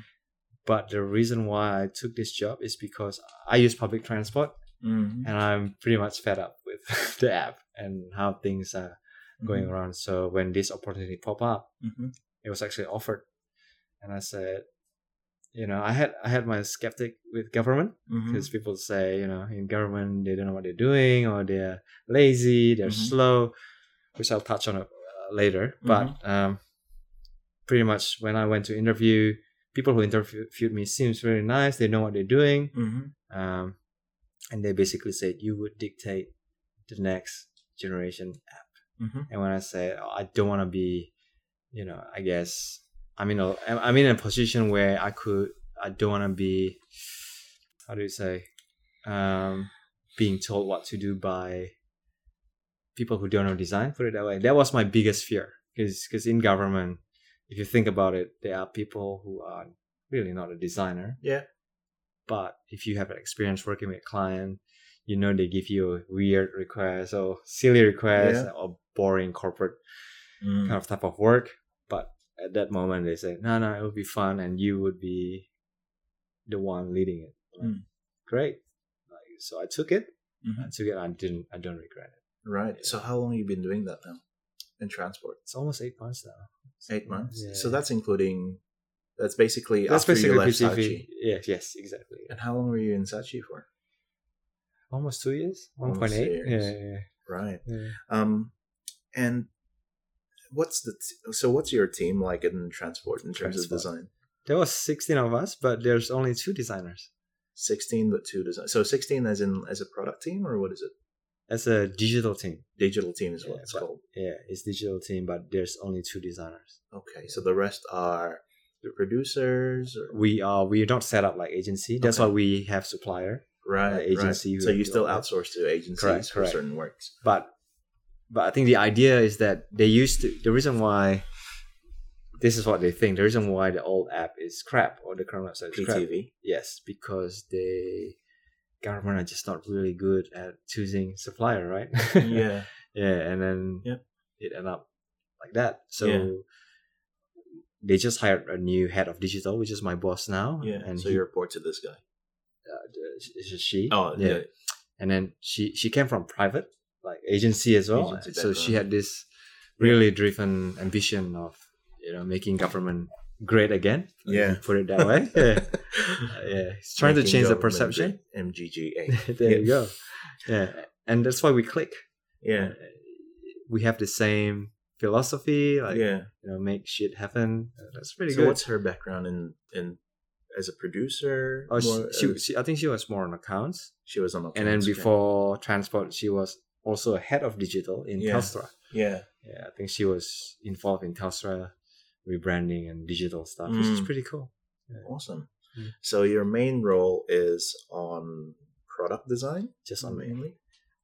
Speaker 2: but the reason why i took this job is because i use public transport
Speaker 1: mm,
Speaker 2: and I'm pretty much fed up with the app and how things are
Speaker 1: Mm-hmm.
Speaker 2: going around. So when this opportunity pop up,
Speaker 1: Mhm.
Speaker 2: it was actually offered, and I said, you know, I had I had my skeptic with government
Speaker 1: Mhm.
Speaker 2: because people say, you know, in government they don't know what they're doing or they're lazy, they're
Speaker 1: Mhm.
Speaker 2: slow, which I'll touch on uh, later. But um, pretty much when I went to interview, people who interviewed me seems really nice. They know what they're doing
Speaker 1: Mhm.
Speaker 2: um, and they basically said you would dictate the next generation app.
Speaker 1: Mhm.
Speaker 2: And when I said oh, I don't want to be, you know, I guess I'm in a I'm I'm in a position where I could I don't want to be, how do you say, um, being told what to do by people who don't know design. Put it that way. That was my biggest fear because because in government, if you think about it, there are people who are really not a designer.
Speaker 1: Yeah.
Speaker 2: But if you have an experience working with a client, you know they give you weird requests or silly requests
Speaker 1: Yeah.
Speaker 2: or boring corporate
Speaker 1: Mm.
Speaker 2: kind of type of work. But at that moment, they say, no, no, it would be fun, and you would be the one leading it. Like,
Speaker 1: Mm.
Speaker 2: Great. Like, so I took it. I
Speaker 1: Mhm.
Speaker 2: took it. I didn't. I don't regret it.
Speaker 1: Right. So how long have you been doing that now in transport?
Speaker 2: It's almost eight months now.
Speaker 1: Eight months.
Speaker 2: Mm, Yeah.
Speaker 1: So that's including. That's basically
Speaker 2: that's
Speaker 1: after
Speaker 2: basically
Speaker 1: you left
Speaker 2: PTV.
Speaker 1: Saatchi.
Speaker 2: Yes, yes, exactly.
Speaker 1: And how long were you in Saatchi for?
Speaker 2: Almost two years. One
Speaker 1: Almost
Speaker 2: point eight.
Speaker 1: two
Speaker 2: Yeah,
Speaker 1: years.
Speaker 2: yeah,
Speaker 1: Right.
Speaker 2: yeah.
Speaker 1: Um, and what's the t- so what's your team like in transport in terms of
Speaker 2: Transport.
Speaker 1: design?
Speaker 2: There was sixteen of us, but there's only two designers.
Speaker 1: Sixteen, but two design. So sixteen as in as a product team, or what is it?
Speaker 2: That's a digital team.
Speaker 1: Digital team is what
Speaker 2: Yeah,
Speaker 1: it's
Speaker 2: but-
Speaker 1: called.
Speaker 2: Yeah, it's digital team, but there's only two designers.
Speaker 1: Okay, so the rest are the producers. Or,
Speaker 2: We are we're not set up like agency. That's
Speaker 1: Okay.
Speaker 2: why we have supplier.
Speaker 1: right,
Speaker 2: agency
Speaker 1: Right.
Speaker 2: who
Speaker 1: So you
Speaker 2: do
Speaker 1: still
Speaker 2: all that.
Speaker 1: outsource to agencies
Speaker 2: Correct,
Speaker 1: for
Speaker 2: correct.
Speaker 1: certain works.
Speaker 2: but but I think the idea is that they used to the reason why this is what they think the reason why the old app is crap or the current website is crap
Speaker 1: PTV.
Speaker 2: yes because they government are just not really good at choosing supplier right
Speaker 1: yeah.
Speaker 2: yeah and then
Speaker 1: Yeah.
Speaker 2: it ended up like that so
Speaker 1: Yeah.
Speaker 2: they just hired a new head of digital which is my boss now
Speaker 1: Yeah.
Speaker 2: and
Speaker 1: so
Speaker 2: he-
Speaker 1: you report to this guy.
Speaker 2: uh, the- it's a she
Speaker 1: Oh, yeah.
Speaker 2: and then she she came from private like agency as well
Speaker 1: Agency
Speaker 2: so she
Speaker 1: background.
Speaker 2: had this really driven ambition of you know making government great again
Speaker 1: Yeah.
Speaker 2: put it that way yeah, yeah. It's trying to
Speaker 1: Making
Speaker 2: change the
Speaker 1: government
Speaker 2: perception
Speaker 1: big, MGGA.
Speaker 2: there you go yeah and that's why we click
Speaker 1: Yeah.
Speaker 2: we have the same philosophy like
Speaker 1: yeah.
Speaker 2: you know make shit happen Uh, that's pretty
Speaker 1: So
Speaker 2: good
Speaker 1: what's her background in in as a producer?
Speaker 2: oh, she,
Speaker 1: More
Speaker 2: she,
Speaker 1: as-
Speaker 2: she, i think she was more on accounts
Speaker 1: she was on the
Speaker 2: and then
Speaker 1: Friends, okay.
Speaker 2: before transport she was also a head of digital in
Speaker 1: Yeah.
Speaker 2: telstra
Speaker 1: yeah,
Speaker 2: yeah, I think she was involved in Telstra rebranding and digital stuff, which is
Speaker 1: Mm.
Speaker 2: pretty cool.
Speaker 1: awesome.
Speaker 2: Mm.
Speaker 1: So your main role is on product design,
Speaker 2: Just on
Speaker 1: mainly,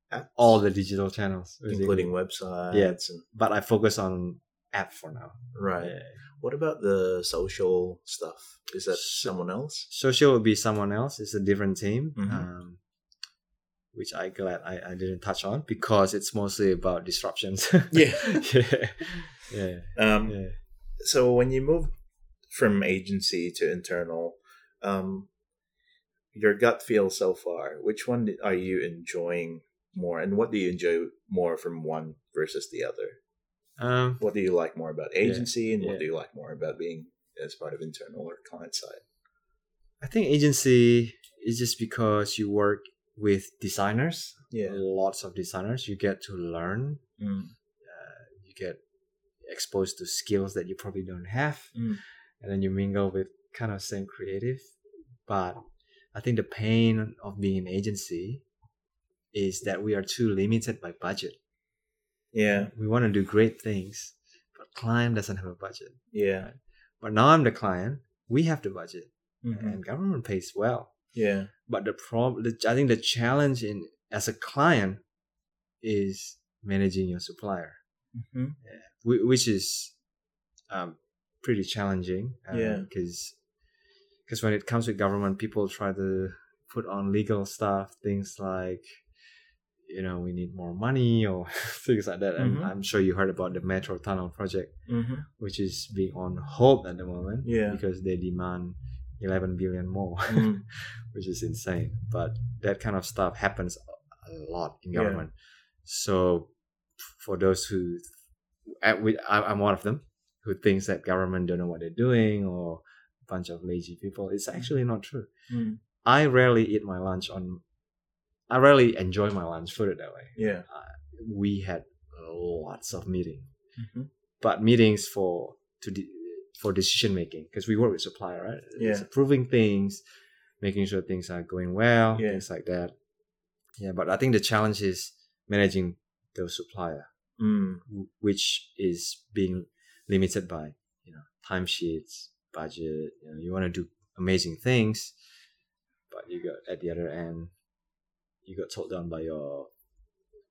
Speaker 1: Apps,
Speaker 2: Mm-hmm. all the digital channels, basically.
Speaker 1: Mm. including websites.
Speaker 2: Yeah.
Speaker 1: and,
Speaker 2: But I focus on app for now.
Speaker 1: right.
Speaker 2: Yeah.
Speaker 1: What about the social stuff? Is that someone else?
Speaker 2: Social would be someone else. It's a different team,
Speaker 1: Mhm.
Speaker 2: um, which I glad I, I didn't touch on because it's mostly about disruptions.
Speaker 1: Yeah.
Speaker 2: yeah, yeah,
Speaker 1: Um,
Speaker 2: yeah.
Speaker 1: so when you moved from agency to internal um your gut feel so far which one did- are you enjoying more and what do you enjoy more from one versus the other
Speaker 2: Um,
Speaker 1: what do you like more about agency and what
Speaker 2: yeah.
Speaker 1: do you like more about being as part of internal or client side
Speaker 2: I think agency is just because you work with designers,
Speaker 1: yeah
Speaker 2: lots of designers. You get to learn
Speaker 1: mm.
Speaker 2: uh, you get exposed to skills that you probably don't have
Speaker 1: Mm.
Speaker 2: and then you mingle with kind of same creative but i think the pain of being an agency is that we are too limited by budget
Speaker 1: yeah
Speaker 2: we want to do great things but client doesn't have a budget
Speaker 1: yeah
Speaker 2: but now i'm the client we have the budget
Speaker 1: Mhm.
Speaker 2: and government pays well
Speaker 1: yeah
Speaker 2: but the problem the, i think the challenge in as a client is managing your supplier Mm-hmm.
Speaker 1: Mhm.
Speaker 2: whi- which is um, pretty challenging.
Speaker 1: Yeah.
Speaker 2: Because because when it comes to government, people try to put on legal stuff, things like you know we need more money or things like that. And
Speaker 1: Mhm.
Speaker 2: I'm sure you heard about the metro tunnel project,
Speaker 1: Mhm.
Speaker 2: which is being on hold at the moment.
Speaker 1: Yeah.
Speaker 2: Because they demand. 11 billion more
Speaker 1: Mm.
Speaker 2: which is insane but that kind of stuff happens a lot in
Speaker 1: Yeah.
Speaker 2: government so for those who I, we, I- I'm one of them who thinks that government don't know what they're doing or a bunch of lazy people. It's actually not true.
Speaker 1: Mm.
Speaker 2: I rarely eat my lunch on. I rarely enjoy my lunch. Put it that way.
Speaker 1: yeah
Speaker 2: We had lots of meetings, Mm-hmm.
Speaker 1: Mhm.
Speaker 2: but meetings for to de- for decision making because we work with supplier, right? It's
Speaker 1: Yeah.
Speaker 2: approving things, making sure things are going well,
Speaker 1: Yeah.
Speaker 2: things like that. Yeah, but I think the challenge is managing those supplier
Speaker 1: mm.
Speaker 2: w- which is being limited by you know timesheets, budget. You know, you want to do amazing things, but you got at the other end, you got told down by your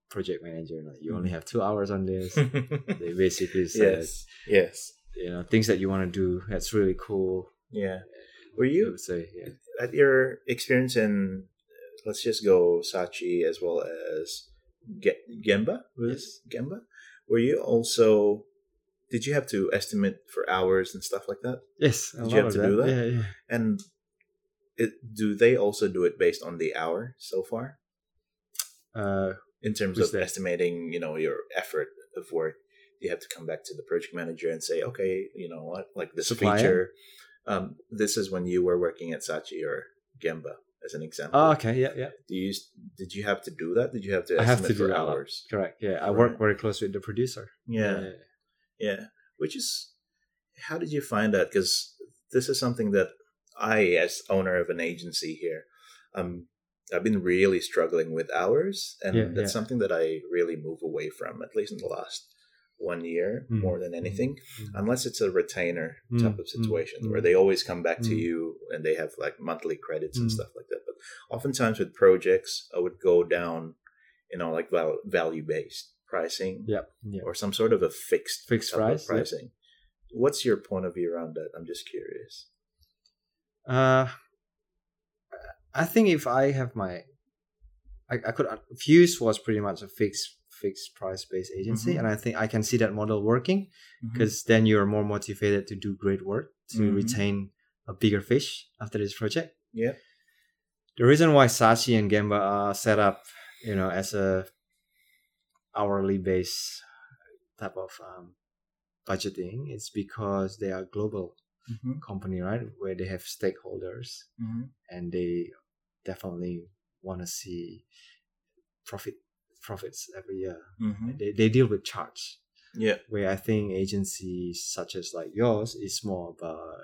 Speaker 2: project manager like you only have two hours on this they basically said
Speaker 1: Mm. yes. Yes.
Speaker 2: you know things that you want to do that's really cool
Speaker 1: Yeah. Were
Speaker 2: I
Speaker 1: you
Speaker 2: would say yeah
Speaker 1: at your experience in uh, let's just go Sachi as well as Ge- Gemba? Was it Gemba? Were you also did you have to estimate for hours and stuff like that?
Speaker 2: yes a
Speaker 1: Did you
Speaker 2: lot
Speaker 1: have
Speaker 2: of
Speaker 1: to do that?
Speaker 2: yeah yeah
Speaker 1: And it, do they also do it based on the hour so far
Speaker 2: uh
Speaker 1: in terms
Speaker 2: Who's
Speaker 1: of
Speaker 2: that?
Speaker 1: estimating, you know, your effort of work? Do you have to come back to the project manager and say, okay, you know what, like this
Speaker 2: Supplier?
Speaker 1: feature, um, this is when you were working at Sachi or Gemba as an example.
Speaker 2: oh, okay yeah yeah
Speaker 1: Do you did you have to do that? Did you have to
Speaker 2: I
Speaker 1: estimate
Speaker 2: have to do
Speaker 1: for
Speaker 2: that.
Speaker 1: hours?
Speaker 2: correct yeah I
Speaker 1: Right.
Speaker 2: work very close with the producer
Speaker 1: Yeah, yeah, Which is how did you find that? Because this is something that I, as owner of an agency here, um, I've been really struggling with hours, and
Speaker 2: Yeah,
Speaker 1: that's
Speaker 2: yeah.
Speaker 1: something that I really move away from, at least in the last one year,
Speaker 2: Mm,
Speaker 1: more than
Speaker 2: mm,
Speaker 1: anything.
Speaker 2: mm.
Speaker 1: Unless it's a retainer
Speaker 2: Mm,
Speaker 1: type of
Speaker 2: mm,
Speaker 1: situation where
Speaker 2: mm.
Speaker 1: they always come back to
Speaker 2: Mm.
Speaker 1: you and they have like monthly credits and
Speaker 2: Mm.
Speaker 1: stuff like that. But oftentimes with projects, I would go down, you know, like val- value based pricing
Speaker 2: yeah yeah
Speaker 1: or some sort of a fixed
Speaker 2: Fixed
Speaker 1: type of
Speaker 2: price, yeah.
Speaker 1: pricing. What's your point of view around that? I'm just curious.
Speaker 2: Uh, I think if I have my, I, I could uh, Fuse was pretty much a fixed fixed price based agency,
Speaker 1: Mhm.
Speaker 2: and I think I can see that model working because then you're more motivated to do great work to
Speaker 1: Mhm.
Speaker 2: retain a bigger fish after this project.
Speaker 1: Yeah.
Speaker 2: The reason why Sachi and Gemba are set up, you know, as a hourly based type of um, budgeting, is because they are global Mm-hmm. company, right? Where they have stakeholders and they definitely want to see profit profits every year. They, they deal with charge,
Speaker 1: Yeah.
Speaker 2: where I think agencies such as like yours is more about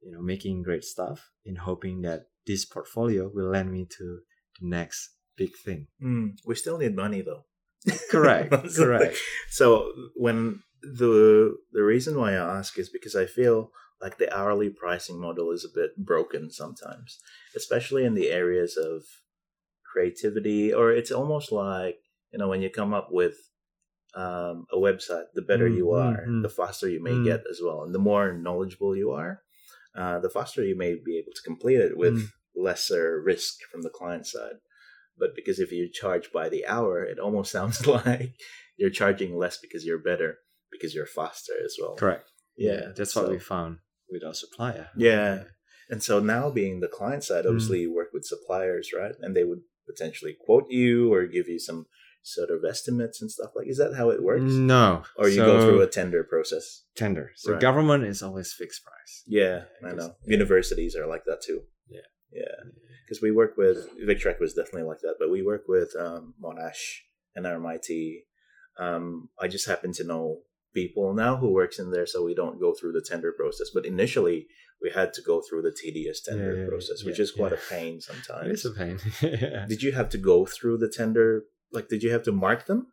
Speaker 2: you know making great stuff in hoping that this portfolio will lend me to the next big thing.
Speaker 1: Mm. We still need money though.
Speaker 2: Correct,
Speaker 1: So-
Speaker 2: correct.
Speaker 1: So when the the reason why I ask is because I feel like the hourly pricing model is a bit broken sometimes, especially in the areas of creativity, or it's almost like you know when you come up with um, a website, the better
Speaker 2: Mm,
Speaker 1: you
Speaker 2: mm,
Speaker 1: are,
Speaker 2: mm.
Speaker 1: the faster you may
Speaker 2: Mm.
Speaker 1: get as well, and the more knowledgeable you are, uh, the faster you may be able to complete it with
Speaker 2: Mm.
Speaker 1: lesser risk from the client side. But because if you charge by the hour, it almost sounds like you're charging less because you're better because you're faster as well.
Speaker 2: Correct.
Speaker 1: Yeah,
Speaker 2: that's
Speaker 1: so-
Speaker 2: what we found with our supplier.
Speaker 1: Yeah. And so now being the client
Speaker 2: Hmm.
Speaker 1: side, obviously you work with suppliers, right? And they would potentially quote you or give you some sort of estimates and stuff like. Is that how it works?
Speaker 2: No.
Speaker 1: Or you go through
Speaker 2: Mm, so-
Speaker 1: a tender process?
Speaker 2: tender. So
Speaker 1: Right.
Speaker 2: government is always fixed price.
Speaker 1: Yeah, I
Speaker 2: Because-
Speaker 1: know. Universities are like that too.
Speaker 2: Yeah.
Speaker 1: Yeah. Because we work with Victrek was definitely like that, but we work with um, Monash and RMIT. Um, I just happen to know people now who works in there, so we don't go through the tender process. But initially, we had to go through the tedious tender
Speaker 2: Yeah, yeah, yeah,
Speaker 1: process, which
Speaker 2: yeah,
Speaker 1: is quite
Speaker 2: yeah.
Speaker 1: a pain
Speaker 2: It
Speaker 1: sometimes.
Speaker 2: is a pain. Yeah.
Speaker 1: Did you have to go through the tender? Like, did you have to mark them?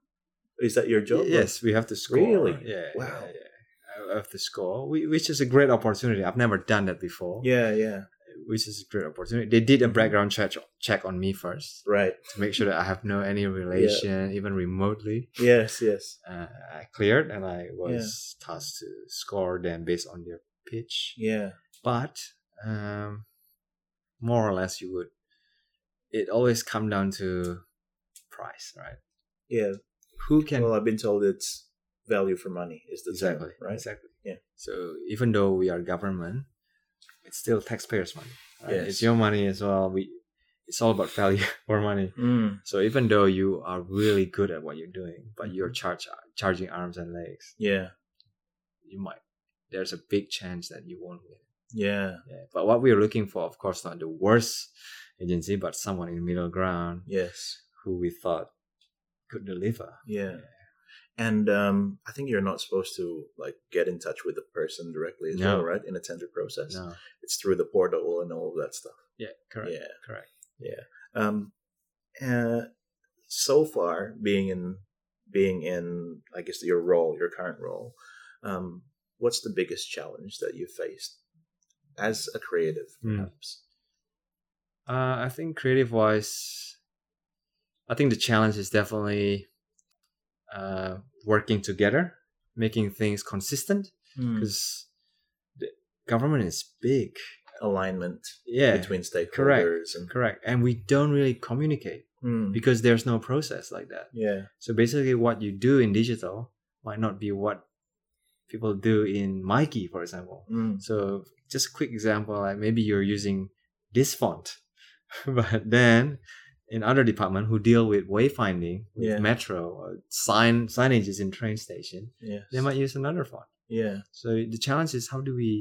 Speaker 1: Is that your job?
Speaker 2: Y- Yes, we have to score.
Speaker 1: Really?
Speaker 2: Yeah.
Speaker 1: Wow.
Speaker 2: yeah, yeah. I have to score, whi- which is a great opportunity. I've never done that before.
Speaker 1: Yeah, yeah,
Speaker 2: Which is a great opportunity. They did a background check check on me first
Speaker 1: right.
Speaker 2: to make sure that I have no any relation, even remotely.
Speaker 1: Yes, yes.
Speaker 2: Uh, I cleared, and I was tasked to score them based on their pitch.
Speaker 1: Yeah,
Speaker 2: But um, more or less, you would. It always come down to price, right?
Speaker 1: yeah.
Speaker 2: Who can
Speaker 1: well, I've been told it's value for money is the term,
Speaker 2: exactly
Speaker 1: right?
Speaker 2: exactly
Speaker 1: Yeah.
Speaker 2: so even though we are government it's still taxpayers money right?
Speaker 1: Yes.
Speaker 2: it's your money as well we it's all about value for money
Speaker 1: Mm,
Speaker 2: so even though you are really good at what you're doing but you're charge, charging arms and legs
Speaker 1: yeah,
Speaker 2: you might there's a big chance that you won't win
Speaker 1: yeah,
Speaker 2: yeah. but what we're looking for of course not the worst agency but someone in the middle ground
Speaker 1: yes,
Speaker 2: who we thought could deliver
Speaker 1: yeah. And um, I think you're not supposed to like get in touch with the person directly as
Speaker 2: No.
Speaker 1: well, right? In a tender process,
Speaker 2: no
Speaker 1: it's through the portal and all of that stuff.
Speaker 2: yeah correct
Speaker 1: Yeah.
Speaker 2: correct
Speaker 1: Um, uh, so far, being in being in, I guess your role, your current role, um, what's the biggest challenge that you faced as a creative,
Speaker 2: Mm.
Speaker 1: perhaps?
Speaker 2: Uh, I think creative wise, I think the challenge is definitely uh, working together, making things consistent because the government is big.
Speaker 1: alignment
Speaker 2: Yeah,
Speaker 1: between stakeholders and
Speaker 2: correct. And we don't really communicate
Speaker 1: Hmm.
Speaker 2: because there's no process like that.
Speaker 1: yeah
Speaker 2: So basically, what you do in digital might not be what people do in Mikey, for example.
Speaker 1: Hmm.
Speaker 2: So just a quick example, like maybe you're using this font, but then in other department who deal with wayfinding, with
Speaker 1: Yeah.
Speaker 2: metro, or sign signages in train station,
Speaker 1: Yes.
Speaker 2: they might use another font.
Speaker 1: yeah
Speaker 2: So the challenge is how do we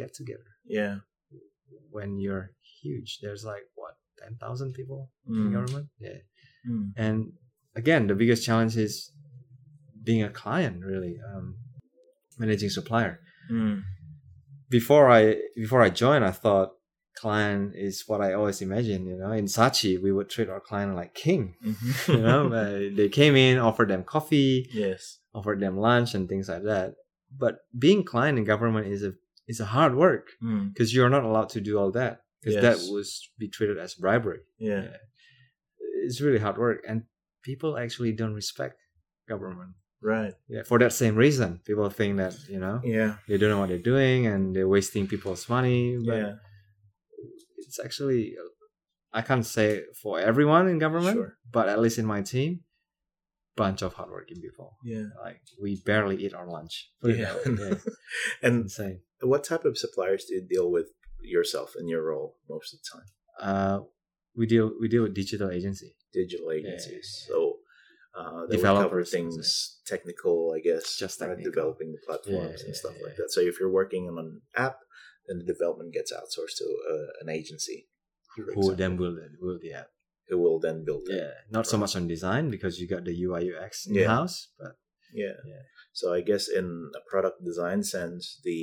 Speaker 2: get together
Speaker 1: yeah
Speaker 2: when you're huge? There's like what ten thousand people in
Speaker 1: Mm.
Speaker 2: government, yeah.
Speaker 1: Hmm.
Speaker 2: And again, the biggest challenge is being a client, really, um, managing supplier.
Speaker 1: Hmm.
Speaker 2: before I before I joined, I thought client is what I always imagined. You know, in Sachi, we would treat our client like king.
Speaker 1: Mhm.
Speaker 2: You know, but they came in, offered them coffee,
Speaker 1: yes
Speaker 2: offered them lunch, and things like that. But being client in government is a is a hard work
Speaker 1: Hmm.
Speaker 2: because you're not allowed to do all that because
Speaker 1: Yes.
Speaker 2: that was be treated as bribery.
Speaker 1: yeah
Speaker 2: It's really hard work, and people actually don't respect government.
Speaker 1: right
Speaker 2: Yeah, for that same reason, people think that you know
Speaker 1: yeah
Speaker 2: they don't know what they're doing and they're wasting people's money. But
Speaker 1: yeah
Speaker 2: it's actually I can't say for everyone in government,
Speaker 1: Sure.
Speaker 2: but at least in my team, bunch of hardworking people.
Speaker 1: yeah
Speaker 2: Like we barely eat our lunch.
Speaker 1: yeah
Speaker 2: yeah.
Speaker 1: and
Speaker 2: insane.
Speaker 1: what type of suppliers do you deal with yourself in your role most of the time
Speaker 2: Uh, we deal we deal with digital agency.
Speaker 1: digital agencies so uh, that would cover
Speaker 2: Developers,
Speaker 1: things technical, I guess,
Speaker 2: Just
Speaker 1: right,
Speaker 2: technical.
Speaker 1: developing the platforms
Speaker 2: Yeah,
Speaker 1: and stuff
Speaker 2: yeah,
Speaker 1: like
Speaker 2: yeah.
Speaker 1: that. So if you're working on an app, then the development gets outsourced to uh, an agency for
Speaker 2: Who would
Speaker 1: example,
Speaker 2: then build it? Build the app.
Speaker 1: who will then build it.
Speaker 2: Yeah, not so much on design because you got the UI UX
Speaker 1: Yeah.
Speaker 2: in house, but
Speaker 1: Yeah.
Speaker 2: Yeah.
Speaker 1: So I guess in a product design sense, the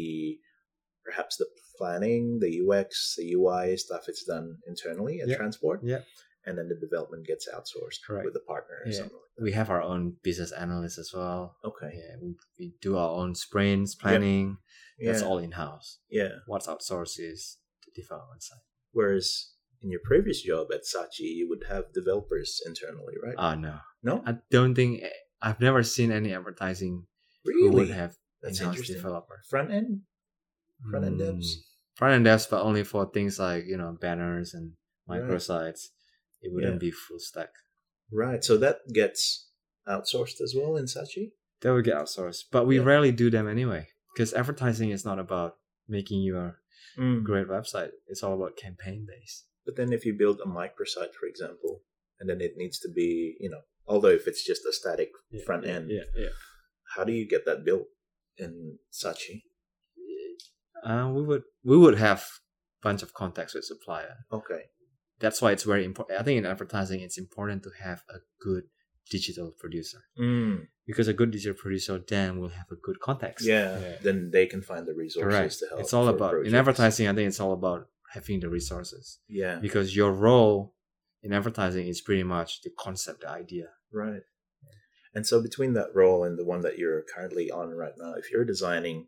Speaker 1: perhaps the planning, the UX, the UI stuff is done internally at
Speaker 2: Yeah.
Speaker 1: transport.
Speaker 2: Yeah.
Speaker 1: And then the development gets outsourced
Speaker 2: Correct.
Speaker 1: with a partner or
Speaker 2: Yeah.
Speaker 1: something like
Speaker 2: we have our own business analyst as well.
Speaker 1: that. Okay.
Speaker 2: Yeah, we, we do our own sprints planning.
Speaker 1: Yeah.
Speaker 2: That's all in house.
Speaker 1: Yeah.
Speaker 2: What's outsourced is the development side.
Speaker 1: Whereas in your previous job at Sachi, you would have developers internally, right?
Speaker 2: Oh no.
Speaker 1: no,
Speaker 2: I don't think eh, I've never seen any advertising who would
Speaker 1: really.
Speaker 2: have
Speaker 1: That's
Speaker 2: in-house
Speaker 1: interesting.
Speaker 2: developer
Speaker 1: Front end, Front end
Speaker 2: Hmm.
Speaker 1: devs?
Speaker 2: Front end devs, but only for things like you know banners and
Speaker 1: Right.
Speaker 2: microsites. It wouldn't
Speaker 1: Yeah.
Speaker 2: be full stack.
Speaker 1: right? So that gets outsourced as well in Sachi.
Speaker 2: That would get outsourced, but we
Speaker 1: Yeah.
Speaker 2: rarely do them anyway because advertising is not about making your
Speaker 1: Mm.
Speaker 2: great website. It's all about campaign based.
Speaker 1: But then if you build a microsite, for example, and then it needs to be, you know, although if it's just a static front end,
Speaker 2: Yeah, yeah.
Speaker 1: how do you get that built in Sachi?
Speaker 2: Uh, we would we would have bunch of contacts with supplier.
Speaker 1: Okay.
Speaker 2: That's why it's very important. I think in advertising, it's important to have a good digital producer.
Speaker 1: Mm,
Speaker 2: because a good digital producer then will have a good context.
Speaker 1: yeah, Then they can find the resources
Speaker 2: correct.
Speaker 1: to help.
Speaker 2: It's all
Speaker 1: for
Speaker 2: about in
Speaker 1: projects.
Speaker 2: advertising. I think it's all about having the resources
Speaker 1: Yeah.
Speaker 2: because your role in advertising is pretty much the concept, the idea.
Speaker 1: Right. And so between that role and the one that you're currently on right now, if you're designing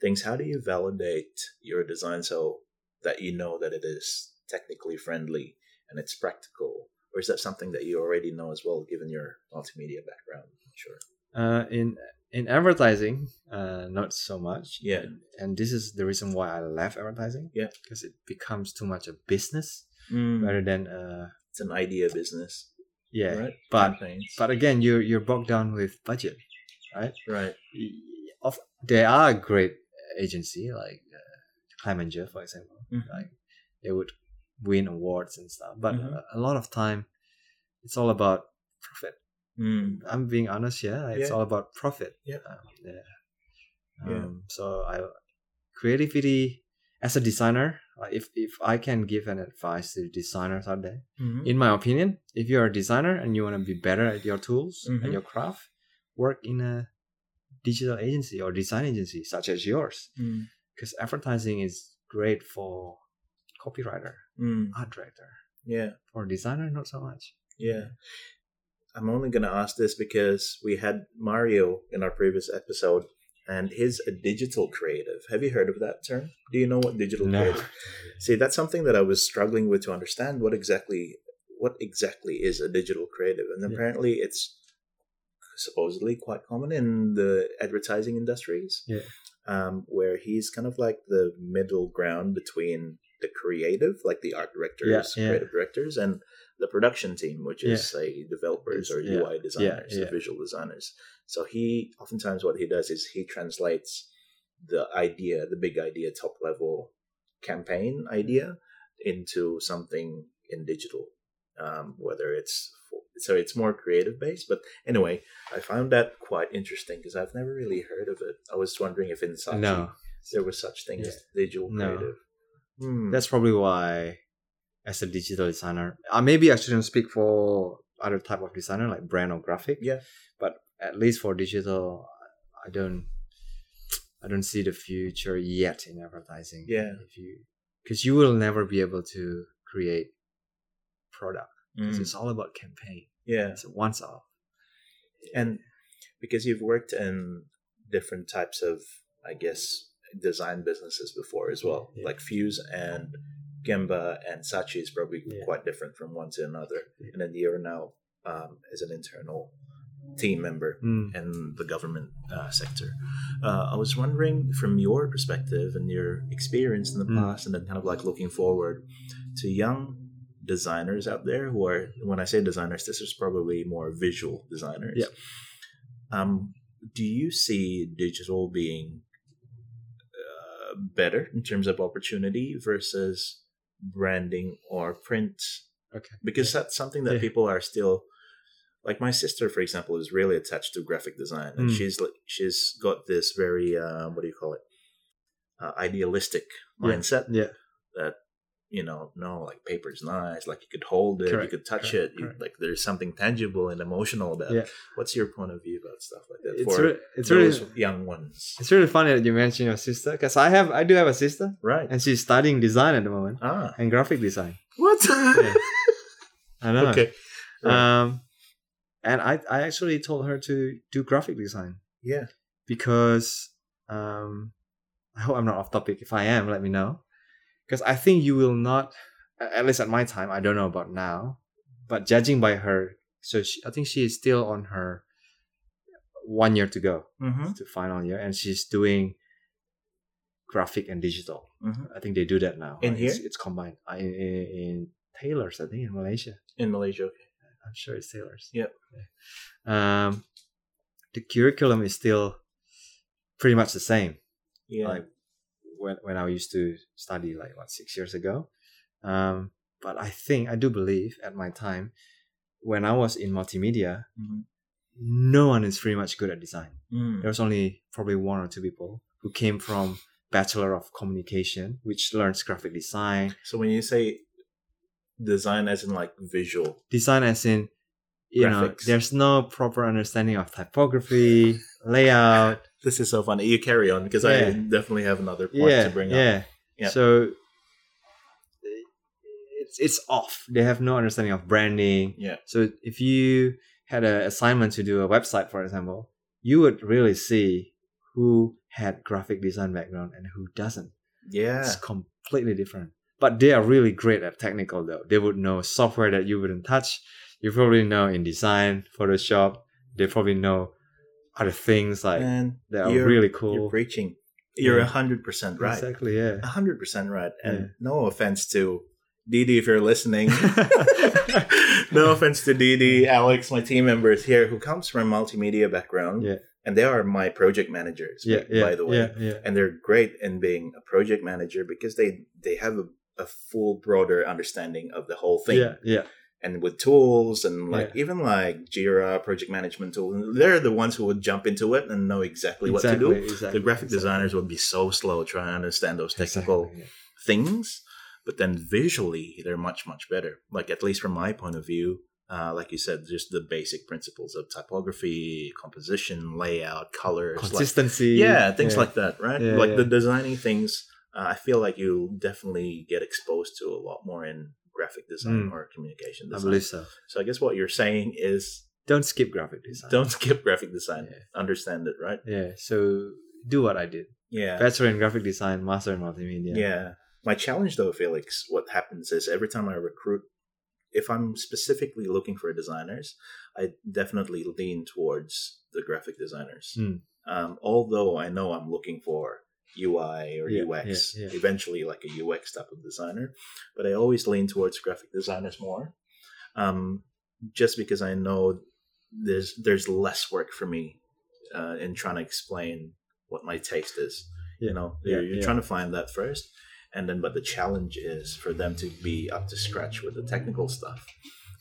Speaker 1: things, how do you validate your design so that you know that it is technically friendly and it's practical? Or is that something that you already know as well, given your multimedia background? Sure.
Speaker 2: Uh, in in advertising, uh, not so much.
Speaker 1: Yeah.
Speaker 2: And this is the reason why I left advertising.
Speaker 1: Yeah.
Speaker 2: Because it becomes too much a business rather than uh
Speaker 1: Mm. It's an idea business.
Speaker 2: yeah.
Speaker 1: Right?
Speaker 2: But
Speaker 1: Campaigns.
Speaker 2: but again, you're you're bogged down with budget.
Speaker 1: right.
Speaker 2: of there are a great agency like uh, Clemenger, for example.
Speaker 1: Mhm.
Speaker 2: Like they would win awards and stuff, but
Speaker 1: Mhm.
Speaker 2: a, a lot of time it's all about profit. I'm being honest here. It's
Speaker 1: Yeah.
Speaker 2: all about profit.
Speaker 1: Yeah.
Speaker 2: Um, yeah.
Speaker 1: Yeah.
Speaker 2: Um, so I creativity as a designer. Like if if I can give an advice to designers out there,
Speaker 1: Mm-hmm.
Speaker 2: in my opinion, if you're a designer and you want to be better at your tools
Speaker 1: Mhm.
Speaker 2: and your craft, work in a digital agency or design agency such as yours.
Speaker 1: Mm-hmm.
Speaker 2: Because advertising is great for copywriter, art director.
Speaker 1: Mm. Yeah.
Speaker 2: For designer, not so much.
Speaker 1: Yeah. I'm only going to ask this because we had Mario in our previous episode and he's a digital creative. Have you heard of that term? Do you know what digital
Speaker 2: No.
Speaker 1: creative? See, that's something that I was struggling with to understand what exactly what exactly is a digital creative, and
Speaker 2: Yeah.
Speaker 1: apparently it's supposedly quite common in the advertising industries,
Speaker 2: Yeah.
Speaker 1: um, where he's kind of like the middle ground between the creative, like the art directors,
Speaker 2: yeah.
Speaker 1: creative directors, and the production team, which is say developers or
Speaker 2: Yeah.
Speaker 1: UI designers,
Speaker 2: yeah.
Speaker 1: the visual designers. So he oftentimes what he does is he translates the idea, the big idea, top level campaign idea into something in digital. Um, whether it's so it's more creative based, but anyway, I found that quite interesting because I've never really heard of it. I was wondering if in Saatchi
Speaker 2: no,
Speaker 1: there was such thing as digital
Speaker 2: No.
Speaker 1: creative. Hmm.
Speaker 2: that's probably why. As a digital designer, uh, maybe I shouldn't speak for other type of designer like brand or graphic.
Speaker 1: Yeah.
Speaker 2: but at least for digital, I don't. I don't see the future yet in advertising.
Speaker 1: Yeah.
Speaker 2: if you because you will never be able to create product. 'cause
Speaker 1: Hmm.
Speaker 2: It's all about campaign.
Speaker 1: yeah.
Speaker 2: It's a once off.
Speaker 1: and because you've worked in different types of i guess design businesses before as well
Speaker 2: Yeah.
Speaker 1: like fuse and gemba and sachi is probably
Speaker 2: Yeah.
Speaker 1: quite different from one to another
Speaker 2: Yeah.
Speaker 1: and then you're now um, as an internal team member
Speaker 2: Mm.
Speaker 1: in the government uh, sector. Uh, I was wondering, from your perspective and your experience in the
Speaker 2: Mm.
Speaker 1: past, and then kind of like looking forward to young designers out there who are, when I say designers, this is probably more visual designers.
Speaker 2: Yeah.
Speaker 1: Um, do you see digital being uh, better in terms of opportunity versus branding or print?
Speaker 2: Okay.
Speaker 1: Because that's something that
Speaker 2: Yeah.
Speaker 1: people are still like my sister for example is really attached to graphic design and
Speaker 2: Mm.
Speaker 1: she's like she's got this very uh, what do you call it uh, idealistic
Speaker 2: Yeah.
Speaker 1: mindset
Speaker 2: Yeah.
Speaker 1: you know no like paper's nice like you could hold it
Speaker 2: Correct,
Speaker 1: you could touch
Speaker 2: correct,
Speaker 1: it you,
Speaker 2: correct.
Speaker 1: like there's something tangible and emotional about
Speaker 2: Yeah.
Speaker 1: it what's your point of view about stuff like that
Speaker 2: It's
Speaker 1: for
Speaker 2: re- it's
Speaker 1: those
Speaker 2: really
Speaker 1: young ones
Speaker 2: it's really funny that you mentioned your sister because I have I do have a sister
Speaker 1: right
Speaker 2: and she's studying design at the moment
Speaker 1: ah
Speaker 2: and graphic design.
Speaker 1: what
Speaker 2: Yeah. I know.
Speaker 1: okay
Speaker 2: Um, and I I actually told her to do graphic design
Speaker 1: yeah
Speaker 2: because um, I hope I'm not off topic. If I am, let me know because I think you will not a- at least at my time. I don't know about now, but judging by her, so she, I think she is still on her one year to go.
Speaker 1: mm-hmm.
Speaker 2: to final year, and she's doing graphic and digital.
Speaker 1: Mhm.
Speaker 2: I think they do that now.
Speaker 1: In
Speaker 2: It's-
Speaker 1: here?
Speaker 2: it's combined I, in, in in Taylor's, I think, in Malaysia.
Speaker 1: in malaysia
Speaker 2: I'm sure it's Taylor's.
Speaker 1: Yep.
Speaker 2: Yeah. Um, the curriculum is still pretty much the same.
Speaker 1: yeah
Speaker 2: Like when when I used to study, like what six years ago. Um, but I think I do believe at my time, when I was in multimedia,
Speaker 1: Mhm.
Speaker 2: no one is pretty much good at design
Speaker 1: Mm.
Speaker 2: there was only probably one or two people who came from bachelor of communication which learns graphic design
Speaker 1: so when you say design as in like visual
Speaker 2: design as in you know
Speaker 1: Graphics.
Speaker 2: there's no proper understanding of typography layout
Speaker 1: this is so funny you carry on because i
Speaker 2: Yeah.
Speaker 1: definitely have another point
Speaker 2: yeah
Speaker 1: to bring up
Speaker 2: yeah
Speaker 1: Yeah.
Speaker 2: so it's it's off they have no understanding of branding
Speaker 1: Yeah.
Speaker 2: so if you had an assignment to do a website for example you would really see who had graphic design background and who doesn't
Speaker 1: Yeah.
Speaker 2: It's completely different. But they are really great at technical though. They would know software that you wouldn't touch. You probably know in design, Photoshop. They probably know other things like
Speaker 1: and
Speaker 2: that are
Speaker 1: you're-
Speaker 2: really
Speaker 1: you're
Speaker 2: cool.
Speaker 1: preaching. You're a
Speaker 2: Yeah.
Speaker 1: 100% right.
Speaker 2: Exactly, yeah.
Speaker 1: a 100% right. And
Speaker 2: Yeah.
Speaker 1: no offense to Didi if you're listening. no offense to Didi, Alex, my team members here who comes from a multimedia background.
Speaker 2: Yeah.
Speaker 1: And they are my project managers,
Speaker 2: yeah,
Speaker 1: by
Speaker 2: yeah,
Speaker 1: the way.
Speaker 2: yeah, yeah.
Speaker 1: And they're great in being a project manager because they, they have a, a full, broader understanding of the whole thing.
Speaker 2: Yeah, yeah,
Speaker 1: and with tools and like even like Jira project management tool, they're the ones who would jump into it and know exactly, what to do.
Speaker 2: exactly,
Speaker 1: The graphic
Speaker 2: exactly.
Speaker 1: designers would be so slow trying to understand those technical
Speaker 2: Exactly, yeah.
Speaker 1: things, but then visually they're much much better. Like at least from my point of view, uh, like you said, just the basic principles of typography, composition, layout, colors, like
Speaker 2: consistency.
Speaker 1: yeah things
Speaker 2: yeah.
Speaker 1: like that right
Speaker 2: Yeah,
Speaker 1: like the
Speaker 2: yeah.
Speaker 1: designing things uh, i feel like you definitely get exposed to a lot more in graphic design
Speaker 2: Mm.
Speaker 1: or communication
Speaker 2: I
Speaker 1: design
Speaker 2: believe so.
Speaker 1: so i guess what you're saying is
Speaker 2: Don't skip graphic design.
Speaker 1: don't skip graphic design
Speaker 2: Yeah.
Speaker 1: understand it right
Speaker 2: Yeah. So do what I did.
Speaker 1: Yeah.
Speaker 2: Bachelor in graphic design, master in multimedia.
Speaker 1: Yeah. My challenge, though, Felix, what happens is every time I recruit, if I'm specifically looking for designers, I definitely lean towards the graphic designers.
Speaker 2: Hmm.
Speaker 1: Um, although I know I'm looking for UI or
Speaker 2: Yeah,
Speaker 1: UX,
Speaker 2: yeah, yeah.
Speaker 1: eventually like a UX type of designer, but I always lean towards graphic designers more, um, just because I know there's there's less work for me uh, in trying to explain what my taste is. You
Speaker 2: Yeah,
Speaker 1: know,
Speaker 2: yeah,
Speaker 1: you're, you're
Speaker 2: yeah.
Speaker 1: trying to find that first, and then but the challenge is for them to be up to scratch with the technical stuff,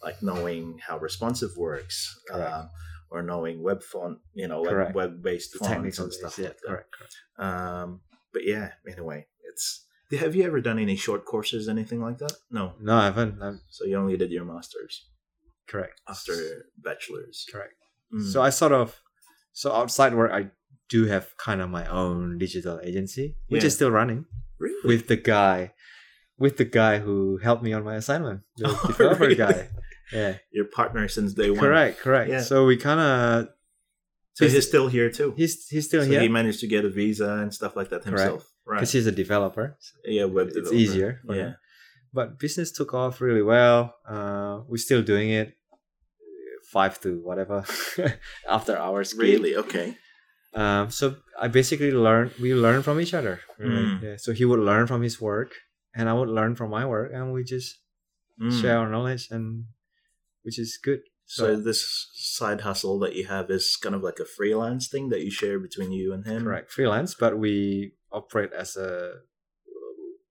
Speaker 1: like knowing how responsive works.
Speaker 2: Correct.
Speaker 1: um, or knowing web font, you know, web,
Speaker 2: Correct.
Speaker 1: web-based
Speaker 2: The
Speaker 1: fonts
Speaker 2: technical
Speaker 1: and stuff
Speaker 2: base, yeah,
Speaker 1: like that.
Speaker 2: correct, correct.
Speaker 1: Um, but yeah, anyway, it's. Have you ever done any short courses, anything like that? No.
Speaker 2: No, I haven't. I'm
Speaker 1: So you only did your masters
Speaker 2: correct.
Speaker 1: after bachelors.
Speaker 2: correct.
Speaker 1: Mm.
Speaker 2: So I sort of so outside work I do have kind of my own digital agency, which
Speaker 1: Yeah.
Speaker 2: is still running
Speaker 1: really?
Speaker 2: with the guy with the guy who helped me on my assignment. The
Speaker 1: Oh,
Speaker 2: developer
Speaker 1: really?
Speaker 2: guy. Yeah.
Speaker 1: your partner since day one.
Speaker 2: Correct, correct.
Speaker 1: Yeah.
Speaker 2: So we kinda
Speaker 1: So he's still here too.
Speaker 2: he's he's still
Speaker 1: so
Speaker 2: here
Speaker 1: he managed to get a visa and stuff like that himself. Right.
Speaker 2: because he's a developer.
Speaker 1: yeah, web
Speaker 2: it's
Speaker 1: developer.
Speaker 2: easier for
Speaker 1: Yeah.
Speaker 2: him. But business took off really well. Uh, we're still doing it uh, five to whatever after hours. gig.
Speaker 1: Really? Okay.
Speaker 2: Um, so I basically learned. We learn from each other. really.
Speaker 1: Mm.
Speaker 2: Yeah, so he would learn from his work, and I would learn from my work, and we just
Speaker 1: Mm.
Speaker 2: share our knowledge, and which is good.
Speaker 1: So this side hustle that you have is kind of like a freelance thing that you share between you and him.
Speaker 2: Correct. Freelance, but we operate as a.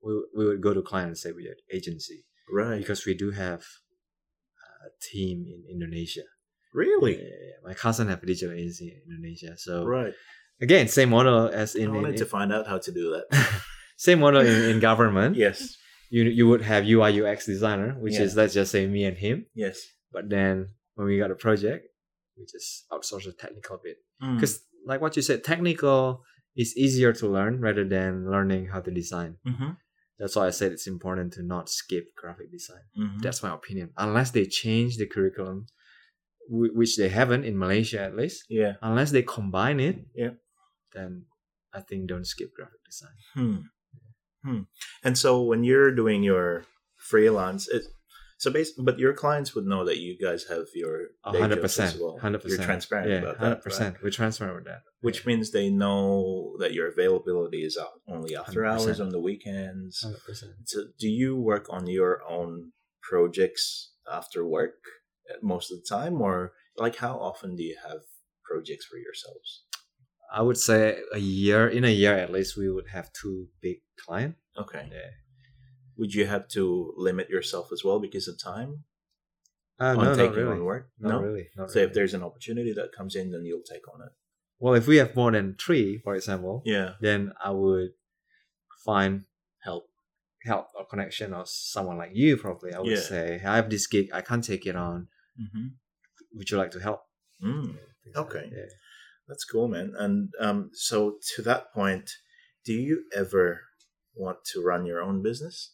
Speaker 2: We, we would go to client and say we're agency
Speaker 1: Right.
Speaker 2: because we do have uh, a team in Indonesia. Yeah,
Speaker 1: Really?
Speaker 2: yeah, yeah. My cousin have a digital agency in Indonesia. So
Speaker 1: Right.
Speaker 2: again, same model as in,
Speaker 1: I
Speaker 2: in-
Speaker 1: wanted to
Speaker 2: in-
Speaker 1: find out how to do that.
Speaker 2: same model in, in government.
Speaker 1: yes.
Speaker 2: You you would have UI UX designer, which
Speaker 1: Yeah.
Speaker 2: is let's just say me and him.
Speaker 1: Yes.
Speaker 2: But then when we got a project, we just outsource the technical bit.
Speaker 1: Mm.
Speaker 2: Because like what you said, technical is easier to learn rather than learning how to design.
Speaker 1: Mhm.
Speaker 2: That's why I said it's important to not skip graphic design.
Speaker 1: Mhm.
Speaker 2: That's my opinion. Unless they change the curriculum, whi- which they haven't in Malaysia at least.
Speaker 1: Yeah.
Speaker 2: unless they combine it,
Speaker 1: Yeah.
Speaker 2: then I think don't skip graphic design.
Speaker 1: Hmm. Hmm. And so when you're doing your freelance, it, so basically, but your clients would know that you guys have your
Speaker 2: A
Speaker 1: day
Speaker 2: hundred
Speaker 1: jobs
Speaker 2: percent,
Speaker 1: as well.
Speaker 2: hundred percent.
Speaker 1: You're transparent
Speaker 2: yeah,
Speaker 1: about that,
Speaker 2: Hundred
Speaker 1: right?
Speaker 2: percent. We're transparent with that.
Speaker 1: Which means they know that your availability is out only after hours
Speaker 2: 100%.
Speaker 1: on the weekends.
Speaker 2: hundred percent.
Speaker 1: So do you work on your own projects after work at most of the time, or like how often do you have projects for yourselves?
Speaker 2: I would say a year in a year at least we would have two big client.
Speaker 1: Okay.
Speaker 2: Yeah.
Speaker 1: Would you have to limit yourself as well because of time on
Speaker 2: Uh, no, not
Speaker 1: taking on
Speaker 2: really.
Speaker 1: work?
Speaker 2: Not really. Not
Speaker 1: So if
Speaker 2: really.
Speaker 1: there's an opportunity that comes in, then you'll take on it.
Speaker 2: well, if we have more than three, for example,
Speaker 1: Yeah.
Speaker 2: then I would find
Speaker 1: Help.
Speaker 2: help or connection or someone like you. Probably I would
Speaker 1: Yeah.
Speaker 2: say "Hey, I have this gig. I can't take it on.
Speaker 1: Mm-hmm.
Speaker 2: Would you like to help?
Speaker 1: Mm,
Speaker 2: Things like
Speaker 1: Okay.
Speaker 2: that. Yeah.
Speaker 1: that's cool, man. And um, so to that point, do you ever want to run your own business?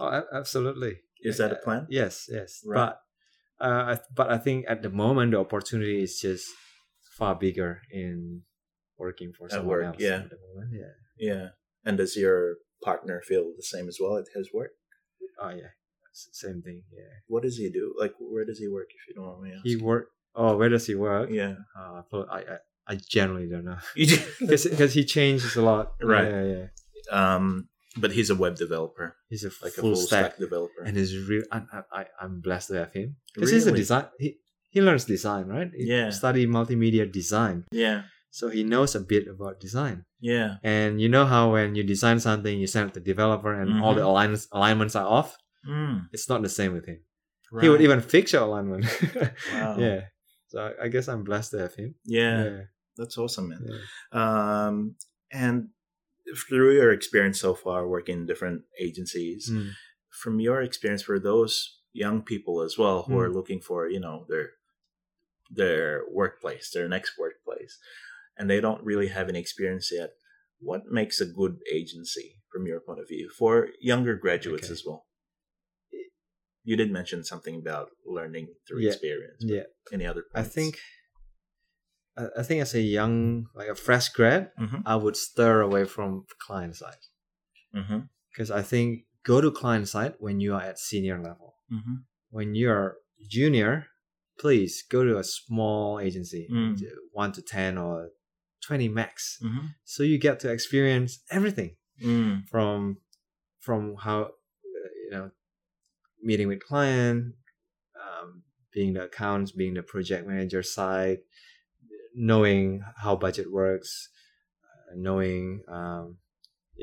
Speaker 2: Oh, a- absolutely.
Speaker 1: Is that a
Speaker 2: Uh,
Speaker 1: plan?
Speaker 2: Yes, yes.
Speaker 1: Right.
Speaker 2: But uh, I th- but I think at the moment the opportunity is just far bigger in working for
Speaker 1: At
Speaker 2: someone
Speaker 1: work,
Speaker 2: else.
Speaker 1: yeah.
Speaker 2: At the moment, yeah.
Speaker 1: Yeah. And does your partner feel the same as well at his work?
Speaker 2: Oh yeah. S- Same thing. Yeah.
Speaker 1: What does he do? Like, where does he work? If you don't want me
Speaker 2: He
Speaker 1: asking.
Speaker 2: work. Oh, where does he work?
Speaker 1: yeah.
Speaker 2: Uh, for- I, I I generally don't know
Speaker 1: You do-
Speaker 2: because he changes a lot.
Speaker 1: Right.
Speaker 2: Yeah, yeah.
Speaker 1: um, but he's a web developer,
Speaker 2: He's a
Speaker 1: like a full
Speaker 2: full,
Speaker 1: stack,
Speaker 2: stack,
Speaker 1: developer.
Speaker 2: and he's real. I, I I- I'm blessed to have him because he's a
Speaker 1: Really?
Speaker 2: design. He he learns design, right? He
Speaker 1: Yeah.
Speaker 2: Study multimedia design,
Speaker 1: yeah.
Speaker 2: so he knows a bit about design.
Speaker 1: Yeah.
Speaker 2: And you know how when you design something, you send it to developer, and all the
Speaker 1: Mm-hmm.
Speaker 2: alignments alignments are off.
Speaker 1: Mm,
Speaker 2: It's not the same with him.
Speaker 1: right.
Speaker 2: He would even fix your alignment.
Speaker 1: Wow.
Speaker 2: Yeah. So I- I guess I'm blessed to have him.
Speaker 1: yeah.
Speaker 2: Yeah.
Speaker 1: That's awesome, man.
Speaker 2: yeah.
Speaker 1: Um, and through your experience so far working in different agencies,
Speaker 2: Mm.
Speaker 1: from your experience for those young people as well who are
Speaker 2: Mm.
Speaker 1: looking for, you know, their their workplace, their next workplace, and they don't really have any experience yet, what makes a good agency from your point of view for younger graduates
Speaker 2: Okay.
Speaker 1: as well? You did mention something about learning through
Speaker 2: Yeah.
Speaker 1: experience. but
Speaker 2: Yeah.
Speaker 1: Any other
Speaker 2: I
Speaker 1: points?
Speaker 2: think I I think as a young, like a fresh grad,
Speaker 1: Mhm.
Speaker 2: I would steer away from client side
Speaker 1: Mm-hmm.
Speaker 2: because I think go to client side when you are at senior level.
Speaker 1: Mm-hmm.
Speaker 2: When you are junior, please go to a small agency,
Speaker 1: Mm.
Speaker 2: to one to ten or twenty max,
Speaker 1: Mm-hmm.
Speaker 2: so you get to experience everything
Speaker 1: Mm.
Speaker 2: from from how uh, you know meeting with client, um, being the accounts, being the project manager side, knowing how budget works, uh, knowing um,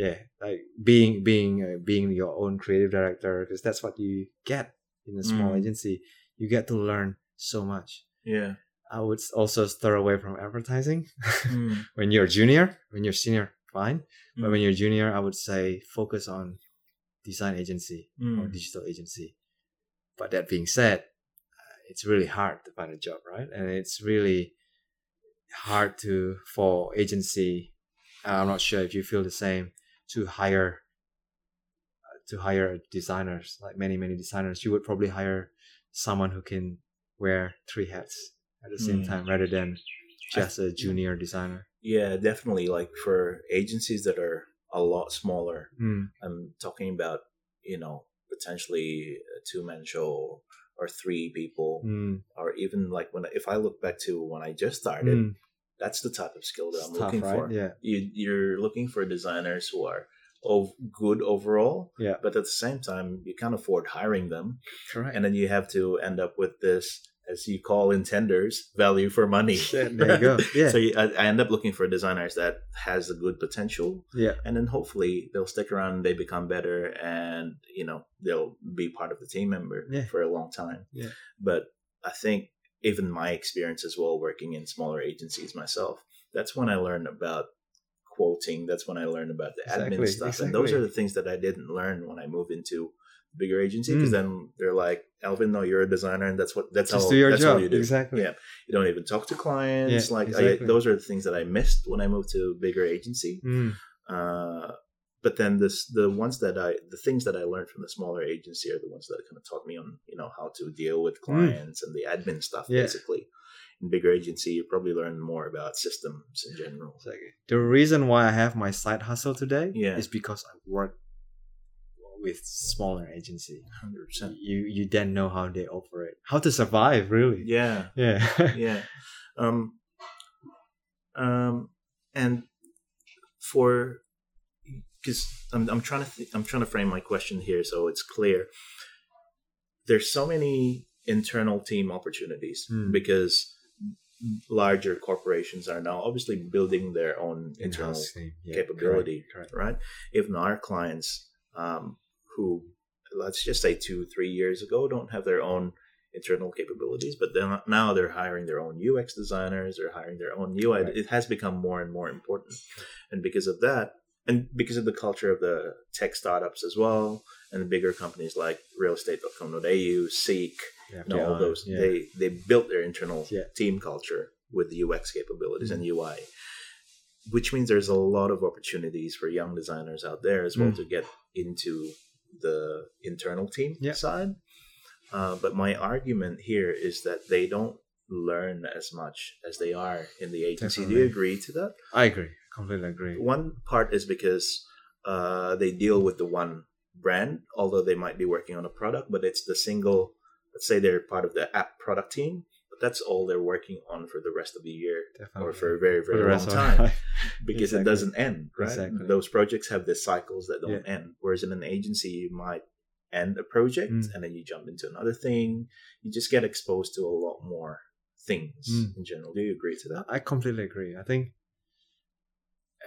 Speaker 2: yeah, like being being uh, being your own creative director because that's what you get in a small
Speaker 1: Mm.
Speaker 2: agency. You get to learn so much.
Speaker 1: Yeah.
Speaker 2: I would also steer away from advertising
Speaker 1: Mm.
Speaker 2: when you're junior. When you're senior, fine. But
Speaker 1: Mm.
Speaker 2: when you're junior, I would say focus on design agency or
Speaker 1: Mm.
Speaker 2: digital agency. But that being said, uh, it's really hard to find a job, right? And it's really hard to for agency. uh, I'm not sure if you feel the same to hire uh, to hire designers like many many designers you would probably hire someone who can wear three hats at the same
Speaker 1: Mm.
Speaker 2: time rather than just a junior designer
Speaker 1: Yeah, definitely. Like for agencies that are a lot smaller,
Speaker 2: mm.
Speaker 1: I'm talking about, you know, potentially a two man show or three people,
Speaker 2: Mm.
Speaker 1: or even like when if I look back to when I just started,
Speaker 2: Mm.
Speaker 1: that's the type of skill that
Speaker 2: It's
Speaker 1: I'm
Speaker 2: tough,
Speaker 1: looking
Speaker 2: right?
Speaker 1: for.
Speaker 2: yeah
Speaker 1: You, you're looking for designers who are of good overall,
Speaker 2: Yeah.
Speaker 1: but at the same time, you can't afford hiring them.
Speaker 2: correct
Speaker 1: And then you have to end up with this, as you call in tenders, value for money.
Speaker 2: Yeah, there you go. Yeah.
Speaker 1: So you, I, I end up looking for designers that has a good potential,
Speaker 2: yeah.
Speaker 1: and then hopefully they'll stick around, they become better, and you know they'll be part of the team member
Speaker 2: Yeah.
Speaker 1: for a long time.
Speaker 2: Yeah.
Speaker 1: But I think even my experience as well, working in smaller agencies myself, that's when I learned about quoting. That's when I learned about the
Speaker 2: Exactly,
Speaker 1: admin stuff, and those
Speaker 2: exactly.
Speaker 1: are the things that I didn't learn when I moved into a bigger agency because
Speaker 2: Mm.
Speaker 1: then they're like, Alvin, no, you're a designer, and that's what that's
Speaker 2: Just
Speaker 1: how
Speaker 2: do your
Speaker 1: that's all
Speaker 2: job.
Speaker 1: you do
Speaker 2: Exactly.
Speaker 1: Yeah. you don't even talk to clients
Speaker 2: Yeah,
Speaker 1: like I,
Speaker 2: exactly.
Speaker 1: those are the things that i missed when i moved to a bigger agency
Speaker 2: Mm.
Speaker 1: uh, but then this the ones that i the things that i learned from the smaller agency are the ones that kind of taught me on you know how to deal with clients and the admin stuff
Speaker 2: Mm. Yeah.
Speaker 1: basically in bigger agency you probably learn more about systems in general
Speaker 2: It's like, the reason why I have my side hustle today
Speaker 1: Yeah.
Speaker 2: is because I work with smaller agency.
Speaker 1: 100%
Speaker 2: You you then know how they operate, how to survive, really.
Speaker 1: yeah
Speaker 2: Yeah.
Speaker 1: yeah um um and for because I'm, I'm trying to th- i'm trying to frame my question here so it's clear there's so many internal team opportunities
Speaker 2: Hmm.
Speaker 1: because larger corporations are now obviously building their own internal
Speaker 2: In-house team. Yeah,
Speaker 1: capability.
Speaker 2: Correct. correct.
Speaker 1: right? Even our clients um, who, let's just say two, three years ago, don't have their own internal capabilities, but then now they're hiring their own UX designers, they're hiring their own UI.
Speaker 2: Right.
Speaker 1: It has become more and more important. And because of that, and because of the culture of the tech startups as well, and the bigger companies like realestate.com.au, Seek,
Speaker 2: Yeah,
Speaker 1: and
Speaker 2: they
Speaker 1: all
Speaker 2: are,
Speaker 1: those,
Speaker 2: yeah.
Speaker 1: they, they built their internal
Speaker 2: Yeah. Mm-hmm.
Speaker 1: team culture with UX capabilities and UI which means there's a lot of opportunities for young designers out there as well
Speaker 2: Mm.
Speaker 1: to get into the internal team
Speaker 2: Yeah.
Speaker 1: side. Uh, but my argument here is that they don't learn as much as they are in the agency. Do you
Speaker 2: Definitely.
Speaker 1: agree to that?
Speaker 2: I agree. Completely agree.
Speaker 1: One part is because uh, they deal with the one brand, although they might be working on a product, but it's the single, let's say they're part of the app product team, but that's all they're working on for the rest of the year
Speaker 2: Definitely.
Speaker 1: or for a very,
Speaker 2: For
Speaker 1: very long
Speaker 2: of my
Speaker 1: time
Speaker 2: life.
Speaker 1: because it
Speaker 2: Exactly.
Speaker 1: doesn't end, right?
Speaker 2: Exactly.
Speaker 1: Those projects have these cycles that don't
Speaker 2: Yeah.
Speaker 1: end. Whereas in an agency, you might end a project
Speaker 2: Mm.
Speaker 1: and then you jump into another thing. You just get exposed to a lot more things
Speaker 2: Mm.
Speaker 1: in general. Do you agree to that?
Speaker 2: I completely agree. I think,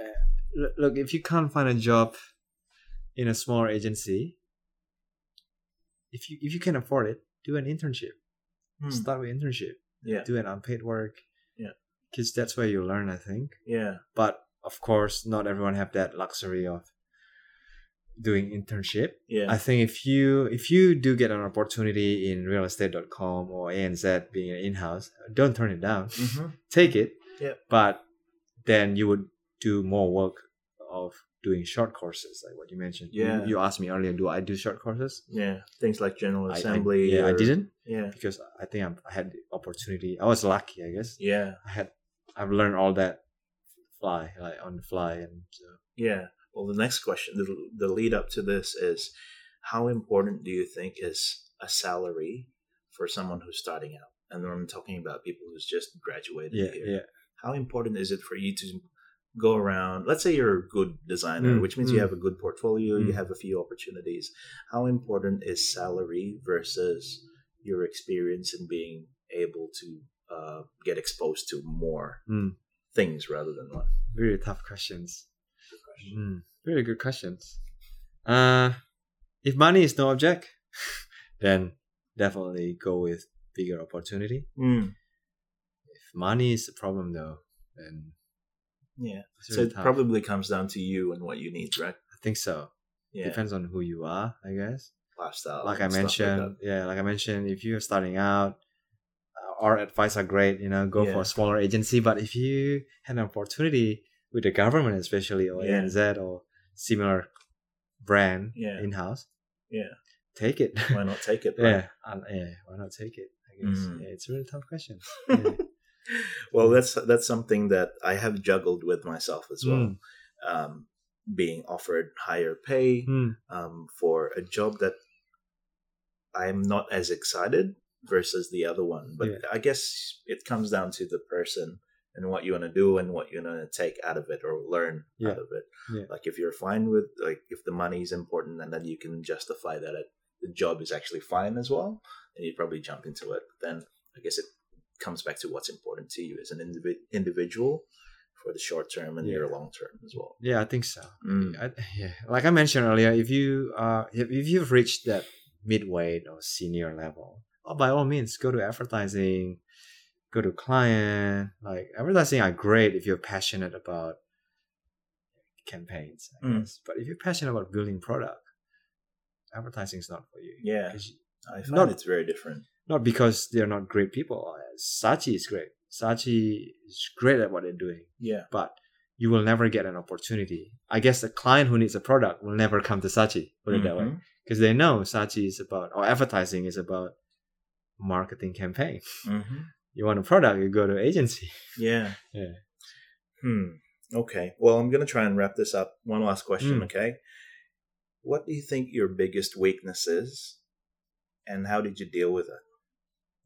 Speaker 2: uh, l- look, if you can't find a job in a small agency, if you if you can afford it, do an internship. Start with internship.
Speaker 1: Yeah,
Speaker 2: Do an unpaid work.
Speaker 1: Hmm. Yeah.
Speaker 2: because that's where you learn. I think,
Speaker 1: yeah,
Speaker 2: but of course, not everyone have that luxury of doing internship.
Speaker 1: yeah.
Speaker 2: I think if you if you do get an opportunity in realestate.com or ANZ being an in-house, don't turn it down
Speaker 1: Mhm.
Speaker 2: take it.
Speaker 1: Yeah.
Speaker 2: But then you would do more work of doing short courses, like what you mentioned. You-
Speaker 1: Yeah.
Speaker 2: You, asked me earlier, do I do short courses?
Speaker 1: Yeah, things like General
Speaker 2: I- I-
Speaker 1: Assembly.
Speaker 2: yeah, I
Speaker 1: or-
Speaker 2: didn't
Speaker 1: Yeah,
Speaker 2: because I think I'm, I had the opportunity. I was lucky, I guess.
Speaker 1: yeah,
Speaker 2: I had I've learned all that fly like on the fly and so.
Speaker 1: Yeah. Well, the next question, the, the lead up to this is how important do you think is a salary for someone who's starting out? And I'm talking about people who's just graduated
Speaker 2: yeah
Speaker 1: here.
Speaker 2: yeah
Speaker 1: How important is it for you to go around? Let's say you're a good designer,
Speaker 2: Mm,
Speaker 1: which means
Speaker 2: mm.
Speaker 1: you have a good portfolio, you
Speaker 2: Mm.
Speaker 1: have a few opportunities. How important is salary versus your experience and being able to uh, get exposed to more
Speaker 2: Mm.
Speaker 1: things rather than one?
Speaker 2: very tough questions Mm, very good questions uh if money is no object then definitely go with bigger opportunity
Speaker 1: Mm.
Speaker 2: if money is a problem though then
Speaker 1: Yeah.
Speaker 2: it's
Speaker 1: So
Speaker 2: really
Speaker 1: it
Speaker 2: tough.
Speaker 1: probably comes down to you and what you need, right?
Speaker 2: I think so
Speaker 1: Yeah.
Speaker 2: depends on who you are I guess
Speaker 1: Lifestyle.
Speaker 2: like I
Speaker 1: and stuff
Speaker 2: mentioned,
Speaker 1: that.
Speaker 2: yeah, like I mentioned, if you're starting out, uh, our advice are great. You know, go
Speaker 1: Yeah.
Speaker 2: for a smaller agency. But if you had an opportunity with the government, especially or
Speaker 1: Yeah.
Speaker 2: ANZ or similar brand
Speaker 1: Yeah.
Speaker 2: in house,
Speaker 1: Yeah.
Speaker 2: take it.
Speaker 1: Why not take it? right?
Speaker 2: yeah, uh, yeah. Why not take it? I guess
Speaker 1: Mm.
Speaker 2: yeah, it's a really tough question. Yeah.
Speaker 1: well, that's that's something that I have juggled with myself as well.
Speaker 2: Mm.
Speaker 1: Um, being offered higher pay
Speaker 2: Mm.
Speaker 1: um, for a job that I'm not as excited versus the other one, but
Speaker 2: Yeah.
Speaker 1: I guess it comes down to the person and what you want to do and what you want to take out of it or learn
Speaker 2: Yeah.
Speaker 1: out of it.
Speaker 2: Yeah.
Speaker 1: Like if you're fine with like if the money is important and then you can justify that it, the job is actually fine as well, then you'd probably jump into it. But then I guess it comes back to what's important to you as an indivi- individual for the short term and
Speaker 2: Yeah.
Speaker 1: your long term as well.
Speaker 2: yeah, I think so.
Speaker 1: Mm.
Speaker 2: I, yeah, like I mentioned earlier, if you uh if, if you've reached that midweight or senior level, oh, by all means, go to advertising, go to client. Like advertising are great if you're passionate about campaigns, I
Speaker 1: Mm.
Speaker 2: guess. But if you're passionate about building product, advertising is not for you.
Speaker 1: Yeah,
Speaker 2: 'Cause you-
Speaker 1: I find
Speaker 2: Not-
Speaker 1: it's very different.
Speaker 2: Not because they're not great people. Sachi is great. Sachi is great at what they're doing
Speaker 1: Yeah.
Speaker 2: but you will never get an opportunity. I guess the client who needs a product will never come to Sachi, put it that way,
Speaker 1: Mhm.
Speaker 2: because they know Sachi is about or advertising is about marketing campaign.
Speaker 1: Mhm.
Speaker 2: You want a product, you go to agency.
Speaker 1: Yeah.
Speaker 2: Yeah.
Speaker 1: Hmm. Okay. Well, I'm going to try and wrap this up. One last question,
Speaker 2: Mm.
Speaker 1: okay? What do you think your biggest weakness is, and how did you deal with it?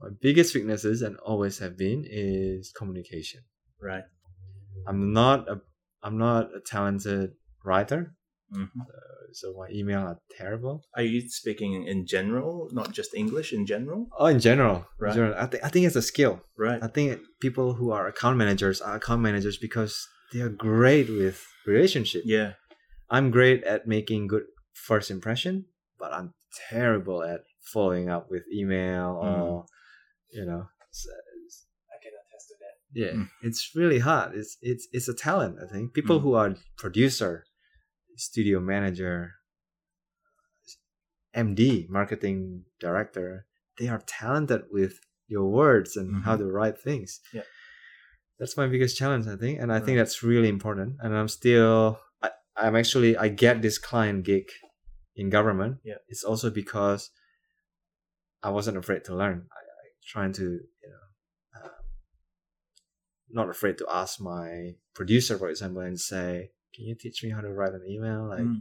Speaker 2: My biggest weaknesses and always have been is communication.
Speaker 1: Right.
Speaker 2: I'm not a I'm not a talented writer,
Speaker 1: Mhm.
Speaker 2: so my email are terrible.
Speaker 1: Are you speaking in general, not just English in general?
Speaker 2: Oh, in general,
Speaker 1: Right.
Speaker 2: in general, I think I think it's a skill.
Speaker 1: Right.
Speaker 2: I think people who are account managers are account managers because they are great with relationship.
Speaker 1: Yeah.
Speaker 2: I'm great at making good first impression, but I'm terrible at following up with email or you know. s- s-
Speaker 3: I can attest to that.
Speaker 2: Yeah,
Speaker 1: Mm.
Speaker 2: it's really hard. It's it's it's a talent. I think people
Speaker 1: Mm.
Speaker 2: who are producer, studio manager, MD, marketing director, they are talented with your words and how
Speaker 1: Mhm.
Speaker 2: to write things.
Speaker 1: Yeah.
Speaker 2: That's my biggest challenge, I think, and I
Speaker 1: Right.
Speaker 2: think that's really important. And I'm still, I, I'm actually, I get this client gig in government.
Speaker 1: Yeah.
Speaker 2: It's also because I wasn't afraid to learn. I, I trying to, you know, um, not afraid to ask my producer, for example, and say, "Can you teach me how to write an email?" Like,
Speaker 1: Mm.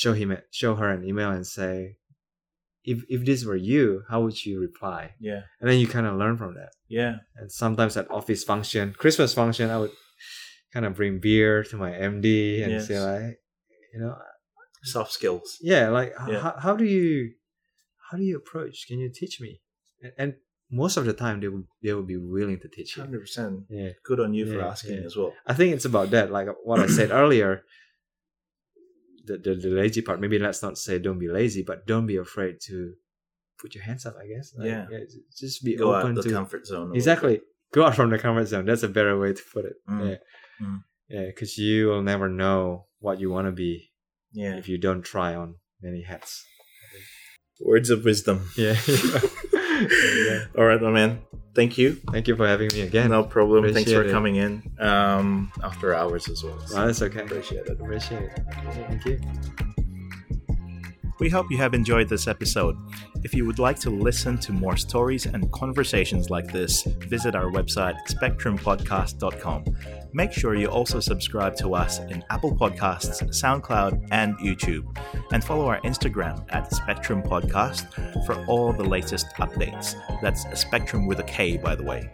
Speaker 2: show him show her an email and say if if this were you how would you reply
Speaker 1: Yeah.
Speaker 2: and then you kind of learn from that
Speaker 1: Yeah.
Speaker 2: and sometimes at office function christmas function i would kind of bring beer to my md and
Speaker 1: Yes.
Speaker 2: say like you know
Speaker 1: Soft skills.
Speaker 2: yeah like h-
Speaker 1: Yeah.
Speaker 2: How, how do you how do you approach can you teach me and, and most of the time they will they will be willing to teach you
Speaker 1: Hundred percent.
Speaker 2: yeah
Speaker 1: Good on you for
Speaker 2: Yeah,
Speaker 1: asking
Speaker 2: yeah.
Speaker 1: as well.
Speaker 2: I think it's about that, like what I said earlier. The, the the lazy part. Maybe let's not say don't be lazy, but don't be afraid to put your hands up. I guess. Like,
Speaker 1: Yeah.
Speaker 2: j- Just be
Speaker 1: Go out
Speaker 2: open
Speaker 1: the
Speaker 2: to
Speaker 1: comfort zone. a little
Speaker 2: exactly go out from the comfort zone. That's a better way to put it.
Speaker 1: Mm.
Speaker 2: Yeah.
Speaker 1: Mm.
Speaker 2: Yeah, because you will never know what you want to be
Speaker 1: bit. Yeah.
Speaker 2: if you don't try on many hats.
Speaker 1: Words of wisdom.
Speaker 2: Yeah. Yeah.
Speaker 1: All right, my man. Thank you.
Speaker 2: Thank you for having me again.
Speaker 1: No problem. Thanks for
Speaker 2: Appreciate it.
Speaker 1: coming in um, after hours as well. So
Speaker 2: Well, that's okay.
Speaker 1: appreciate it.
Speaker 2: Appreciate it. Thank you.
Speaker 1: We hope you have enjoyed this episode. If you would like to listen to more stories and conversations like this, visit our website, spectrumpodcast.com. Make sure you also subscribe to us in Apple Podcasts, SoundCloud, and YouTube. And follow our Instagram at Spectrum Podcast for all the latest updates. That's Spectrum with a K, by the way.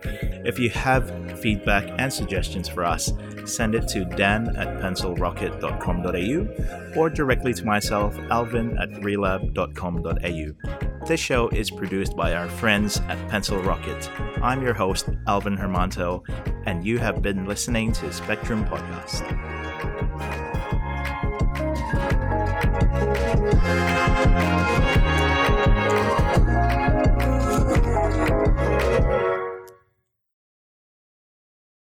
Speaker 1: If you have feedback and suggestions for us, send it to dan at pencilrocket.com.au or directly to myself, alvin at relab.com.au. This show is produced by our friends at Pencil Rocket. I'm your host, Alvin Hermanto, and you have been listening to Spectrum Podcast.